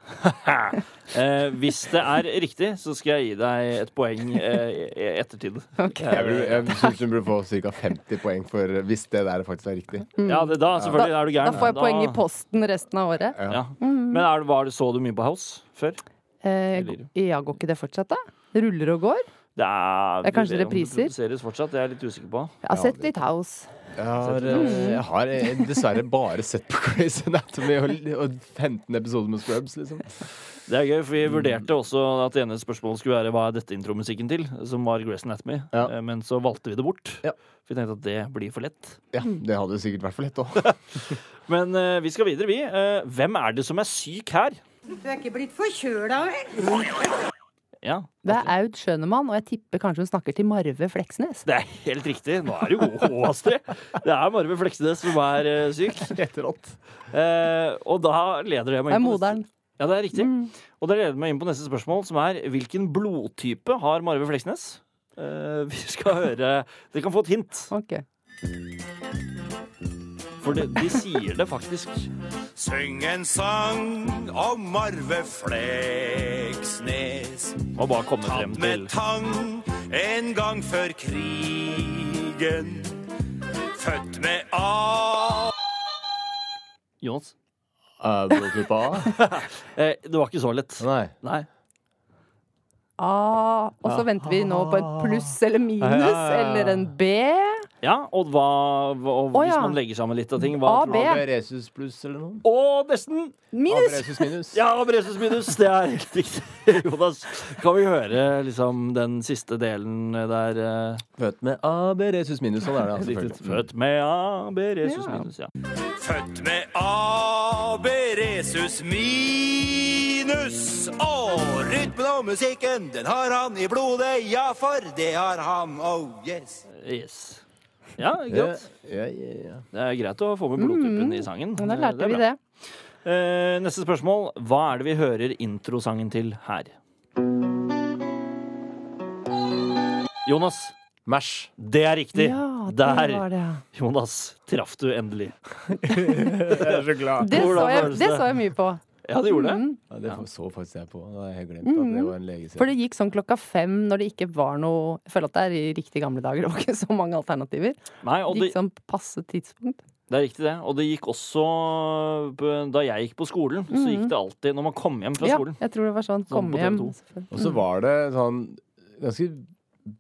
Eh, hvis det er riktig, så skal jeg gi deg et poeng eh, i i ettertid.
Jeg, vil- jeg syns hun burde få ca. 50 poeng for hvis det der faktisk er riktig.
Ja, det, da selvfølgelig er du
Mm. Da
gæren.
får jeg poeng i posten resten av året.
Ja.
Mm.
Men er, det- var, det- så du mye på House før?
Eh,
Eller-
ja, går ikke det fortsatt, da? Ruller og går?
Det er,
Det er kanskje
vurderer om
repriser?
Det produseres fortsatt, det er jeg litt usikker på.
Jeg har sett litt House.
Jeg har, eh, jeg har eh, dessverre bare sett på Crazy Anatomy og, og 15 episoder med Scrubs, liksom.
Det er gøy, for
Mm.
vi vurderte også at det ene spørsmålet skulle være hva er dette intromusikken til, som var Grace Anatomy,
Ja.
Eh, men så valgte vi det bort.
Ja.
For vi tenkte at det blir for lett.
Ja, det hadde jo sikkert vært for lett òg.
Men eh, vi skal videre, vi. Eh, hvem er det som er syk her?
Du er ikke blitt forkjøla, vel?
Ja,
Det er Aud Schønemann, og jeg tipper kanskje hun snakker til Marve Fleksnes.
det er helt riktig. Nå er du god, Astrid. Det er Marve Fleksnes som er eh, syk. Eh, og da leder det meg
Det er
inn på neste-
moderen.
Ja, det er riktig. Og det leder meg inn på neste spørsmål, som er hvilken blodtype har Marve Fleksnes? Eh, vi skal høre Dere kan få et hint,
Ok.
for de, de sier det faktisk.
Syng en sang om Marve Fleksnes.
Må bare komme frem til
Med tang en gang før krigen. Født med A.
Jonas.
Blodtype A?
Eh, det var ikke så lett.
Nei.
Nei.
Ah, og så venter vi nå på et
Ah.
pluss eller minus eller en B.
Ja, og hva og Hvis
Å, ja.
man legger sammen litt av ting, hva
A,
tror
B.
du?
Abresus pluss eller noe?
Å, nesten!
Minus!
Abresus minus.
Ja, Bresus minus, det er helt riktig. Jonas, kan vi høre liksom den siste delen der eh,
Født med Abresus minus. Sånn er det, altså,
Riktig.
selvfølgelig.
Født med A, Beresus
Ja.
minus, ja.
Født med A. Beresus minus. Og rytmen og musikken, den har han i blodet. Ja, for det har han. Oh yes.
Yes. Ja,
Ja,
greit.
ja, ja, ja.
Det er greit å få med blodtypen i sangen.
Mm. Da
er
lærte vi
bra.
det.
Eh, neste spørsmål. Hva er det vi hører introsangen til her? Jonas,
Mash.
det er riktig.
Ja, det
Der,
var det. ja.
Jonas, traff du endelig.
Jeg er så glad.
Det
Hvordan
så, jeg,
føles
det
det?
så jeg mye på.
Ja, du gjorde
Mm.
det.
Ja, det så faktisk jeg på. Da hadde jeg glemt at
Mm-hmm.
det var en
For
legeserie.
det gikk sånn klokka fem når det ikke var noe Jeg føler at det er i riktig gamle dager. Det var ikke så mange alternativer.
Nei,
Det
og det,
gikk sånn passe tidspunkt.
det er riktig, det. Og det gikk også på- Da jeg gikk på skolen, så gikk det alltid når man kom hjem fra
Mm. Ja,
skolen.
jeg tror det var sånn.
Sånn
Kom
på
hjem.
TV2.
selvfølgelig.
Og så var det sånn ganske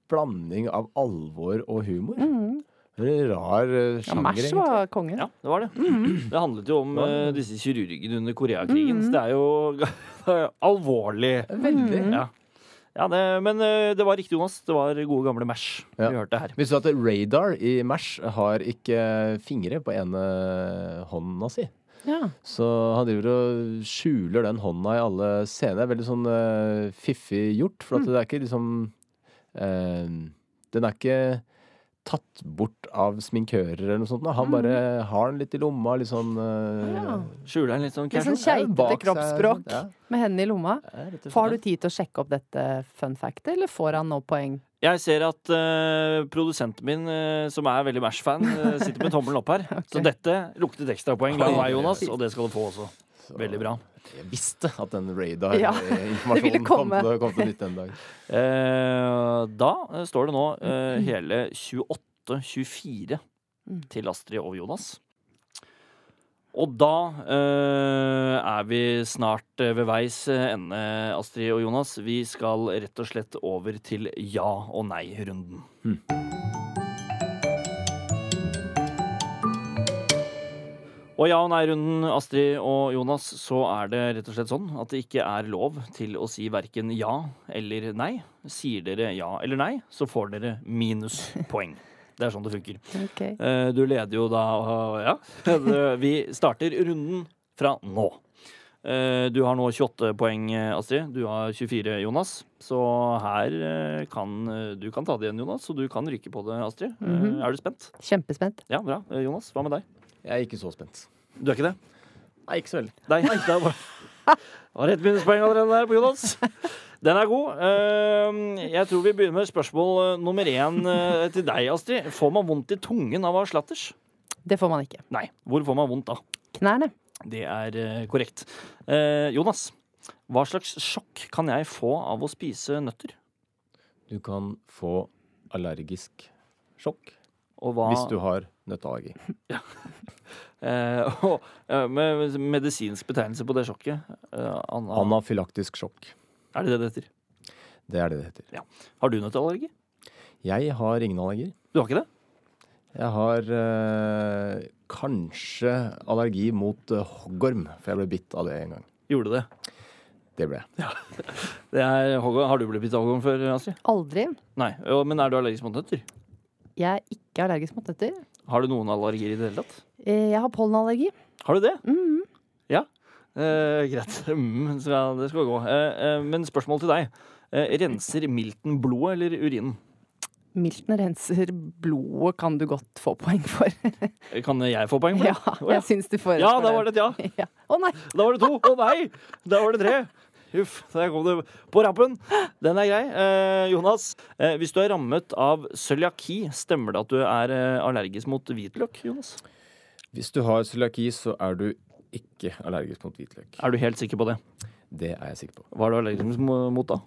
blanding av alvor og humor. Det er En rar eh,
Mm-hmm. Ja,
sjanger,
Mash
egentlig.
var konge.
Ja, det var det.
Mm.
Det handlet jo om eh, disse kirurgene under Koreakrigen. Så det er jo alvorlig.
Mm-hmm.
Veldig.
Ja. Ja, det, men eh, det var riktig, Jonas. Det var gode gamle Mash
Ja.
vi hørte her.
Visste du at Radar i Mash har ikke fingre på ene hånda si?
Ja.
Så han driver og skjuler den hånda i alle scener. Det er Veldig sånn eh, fiffig gjort,
Mm.
for at det er ikke liksom eh, Den er ikke tatt bort av sminkører eller noe sånt. da.
Mm.
Han bare har den litt i lomma, litt sånn eh,
Skjuler en litt sånn
Litt
casual.
sånn keitete
bak seg,
kroppsspråk
ja.
med hendene i lomma.
rett og slett.
Får du tid til å sjekke opp dette fun factet, eller får han nå poeng?
Jeg ser at eh, produsenten min, eh, som er veldig Mash-fan, eh, sitter med tommelen opp her. Så dette luktet ekstrapoeng lang vei, Jonas, og det skal du få også. Veldig bra.
Jeg visste at den
Ja, det ville
radar-informasjonen kom,
komme.
til- kom til nytte en dag.
Eh, da eh, står det nå eh, hele 28-24 til Astrid og Jonas. Og da eh, er vi snart eh, ved veis ende, Astrid og Jonas. Vi skal rett og slett over til ja- og nei-runden. Og ja- og nei-runden, Astrid og Jonas, så er det rett og slett sånn at det ikke er lov til å si verken ja eller nei. Sier dere ja eller nei, så får dere minuspoeng. Det er sånn det funker.
Ok.
Eh, Du leder jo da og- Ja. Det- Vi starter runden fra nå. Eh, Du har nå 28 poeng, eh, Astrid. Du har 24, Jonas. Så her eh, kan eh, du kan ta det igjen, Jonas, og du kan ryke på det, Astrid. Eh, Er du spent?
Kjempespent.
Ja, bra. Eh, Jonas, hva med deg?
Jeg er ikke så spent.
Du er ikke det?
Nei, ikke så veldig.
Nei, nei, det er bare Har ett minuspoeng allerede der på Jonas. Den er god. Eh, Jeg tror vi begynner med spørsmål eh, nummer én eh, til deg, Astrid. Får man vondt i tungen av å ha slatters?
Det får man ikke.
Nei. Hvor får man vondt da?
Knærne.
Det er eh, korrekt. Eh, Jonas, hva slags sjokk kan jeg få av å spise nøtter?
Du kan få allergisk sjokk
Og hva,
hvis du har nøtteallergi.
eh, og, eh, med medisinsk betegnelse på det sjokket. Eh, Anna,
Anafylaktisk sjokk.
Er det det det heter?
Det er det det heter.
Har du nøtteallergi?
Jeg har ingen allergier.
Du har ikke det?
Jeg har eh, kanskje allergi mot eh, hoggorm, for jeg ble bitt av det en gang.
Gjorde du det?
Det ble jeg.
det er, hoggorm- har du blitt bitt av hoggorm før, Astrid?
Aldri.
Nei. Jo, Men er du allergisk mot nøtter?
Jeg er ikke allergisk mot nøtter.
Har du noen allergier i det hele tatt?
Eh, Jeg har pollenallergi.
Har du det? Ja. Eh, greit. Mm, så ja, det skal gå. Eh, eh, men spørsmål til deg. Eh, renser milten blodet eller urinen?
Milten renser blodet, kan du godt få poeng for.
Kan jeg få poeng for
ja,
det? Å, ja.
jeg syns du får
ja, da var det et ja.
Ja. Å nei!
Da var det to. Å nei! Da var det tre. Huff, der kom det på rappen. Den er grei. Eh, Jonas, eh, hvis du er rammet av cøliaki, stemmer det at du er eh, allergisk mot hvitløk? Jonas?
Hvis du har cøliaki, så er du ikke allergisk mot hvitløk.
Er du helt sikker på det?
Det er jeg sikker på.
Hva er du allergisk mot da?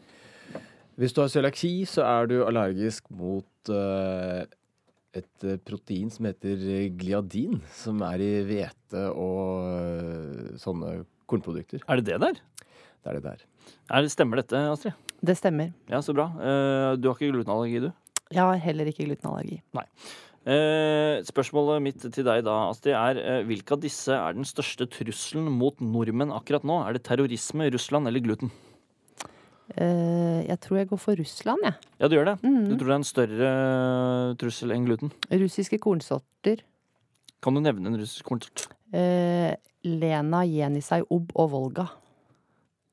Hvis du har cøliaki, så er du allergisk mot eh, et eh, protein som heter gliadin, som er i hvete og eh, sånne kornprodukter.
Er det det der?
Det er det der.
Er, det- stemmer dette, Astrid?
Det stemmer.
Ja, så bra. Eh, du har ikke glutenallergi, du?
Jeg har heller ikke glutenallergi.
Eh, spørsmålet mitt til deg da, Astrid, er eh, hvilke av disse er den største trusselen mot nordmenn akkurat nå? Er det terrorisme, Russland eller gluten?
Eh, Jeg tror jeg går for Russland, jeg.
Ja, du gjør det.
Mhm.
Du tror det er en større eh, trussel enn gluten?
Russiske kornsorter.
Kan du nevne en russisk konsert?
Eh, Lena, Jenisej, Ob og Volga.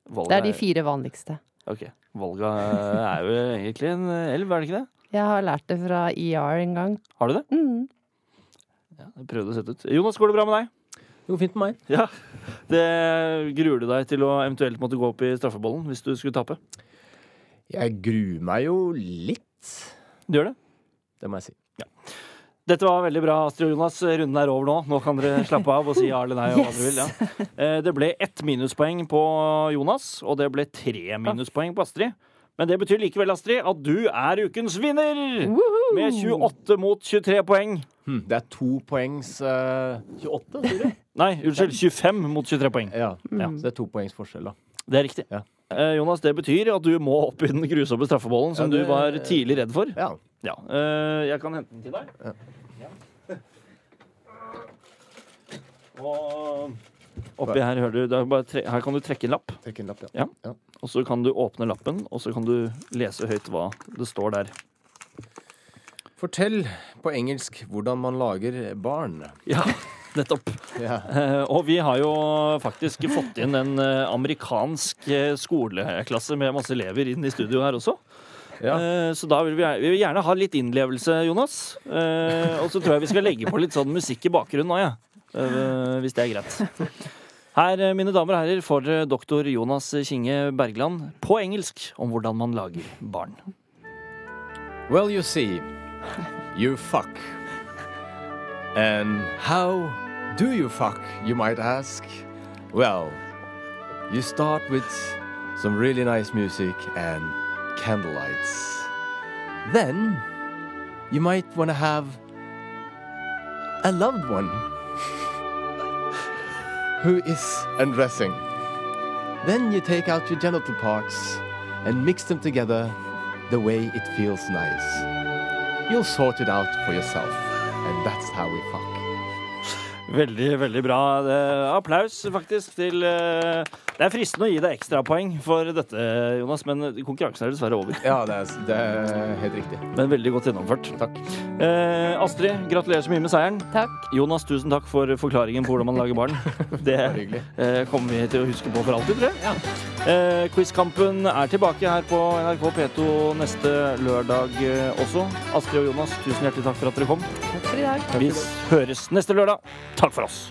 Det
Valga
er de fire vanligste.
Ok. Volga er jo egentlig en elv, er det ikke det?
Jeg har lært det fra ER en gang.
Har du det?
Mm.
Jeg prøvde å sette ut. Jonas, går det bra med deg?
Det går fint med meg.
Ja. Det gruer du deg til å eventuelt måtte gå opp i straffebollen hvis du skulle tape?
Jeg gruer meg jo litt.
Du gjør det?
Det må jeg si.
Dette var veldig bra, Astrid og Jonas. Runden er over nå. Nå kan dere slappe av og si ja eller nei. Og hva dere vil, ja. Eh, Det ble ett minuspoeng på Jonas, og det ble tre minuspoeng på Astrid. Men det betyr likevel, Astrid, at du er ukens vinner! Med 28 mot 23 poeng.
Hm, Det er to poengs eh, 28, sier du? Mm.
Nei, unnskyld. 25 mot 23 poeng.
Ja. Så det er to poengs forskjell, da.
Det er riktig.
Ja.
Eh, Jonas, det betyr at du må opp i den grusomme straffebollen som
Ja, det-
du var tidlig redd for.
Ja.
Ja, eh, jeg kan hente den til deg. Ja. Og oppi her hører du det er bare tre, Her kan du trekke en lapp,
Trekk en lapp,
Ja. og så kan du åpne lappen, og så kan du lese høyt hva det står der.
Fortell på engelsk hvordan man lager barn.
Ja, nettopp.
Ja.
Eh, og vi har jo faktisk fått inn en eh, amerikansk eh, skoleklasse med masse elever inn i studio her også. Eh, Så da vil vi, vi vil gjerne ha litt innlevelse, Jonas. Eh, Og så tror jeg vi skal legge på litt sånn musikk i bakgrunnen nå, ja. Eh, hvis det er greit. Her, eh, mine damer og herrer, får dere doktor Jonas Kinge Bergland på engelsk om hvordan man lager barn.
Well, you see, you fuck. And how do you fuck, you might ask? Well, you start with some really nice music and candlelights. Then, you might want to have a loved one who is undressing. Then you take out your genital parts and mix them together the way it feels nice. You'll sort it out for yourself, and that's how we fuck.
Veldig, veldig bra. Eh, Applaus faktisk til eh, Det er fristende å gi deg ekstrapoeng for dette, Jonas, men konkurransen er dessverre over.
Ja, det er, det er helt riktig.
Men veldig godt gjennomført.
Takk.
Eh, Astrid, gratulerer så mye med seieren.
Takk.
Jonas, tusen takk for forklaringen på hvordan man lager barn. Det
hyggelig.
eh, kommer vi til å huske på for alltid, tror jeg. Eh, Quizkampen er tilbake her på NRK P2 neste lørdag eh, også. Astrid og Jonas, tusen hjertelig takk for at dere kom.
Takk for i dag.
Vi høres neste lørdag. Takk for oss.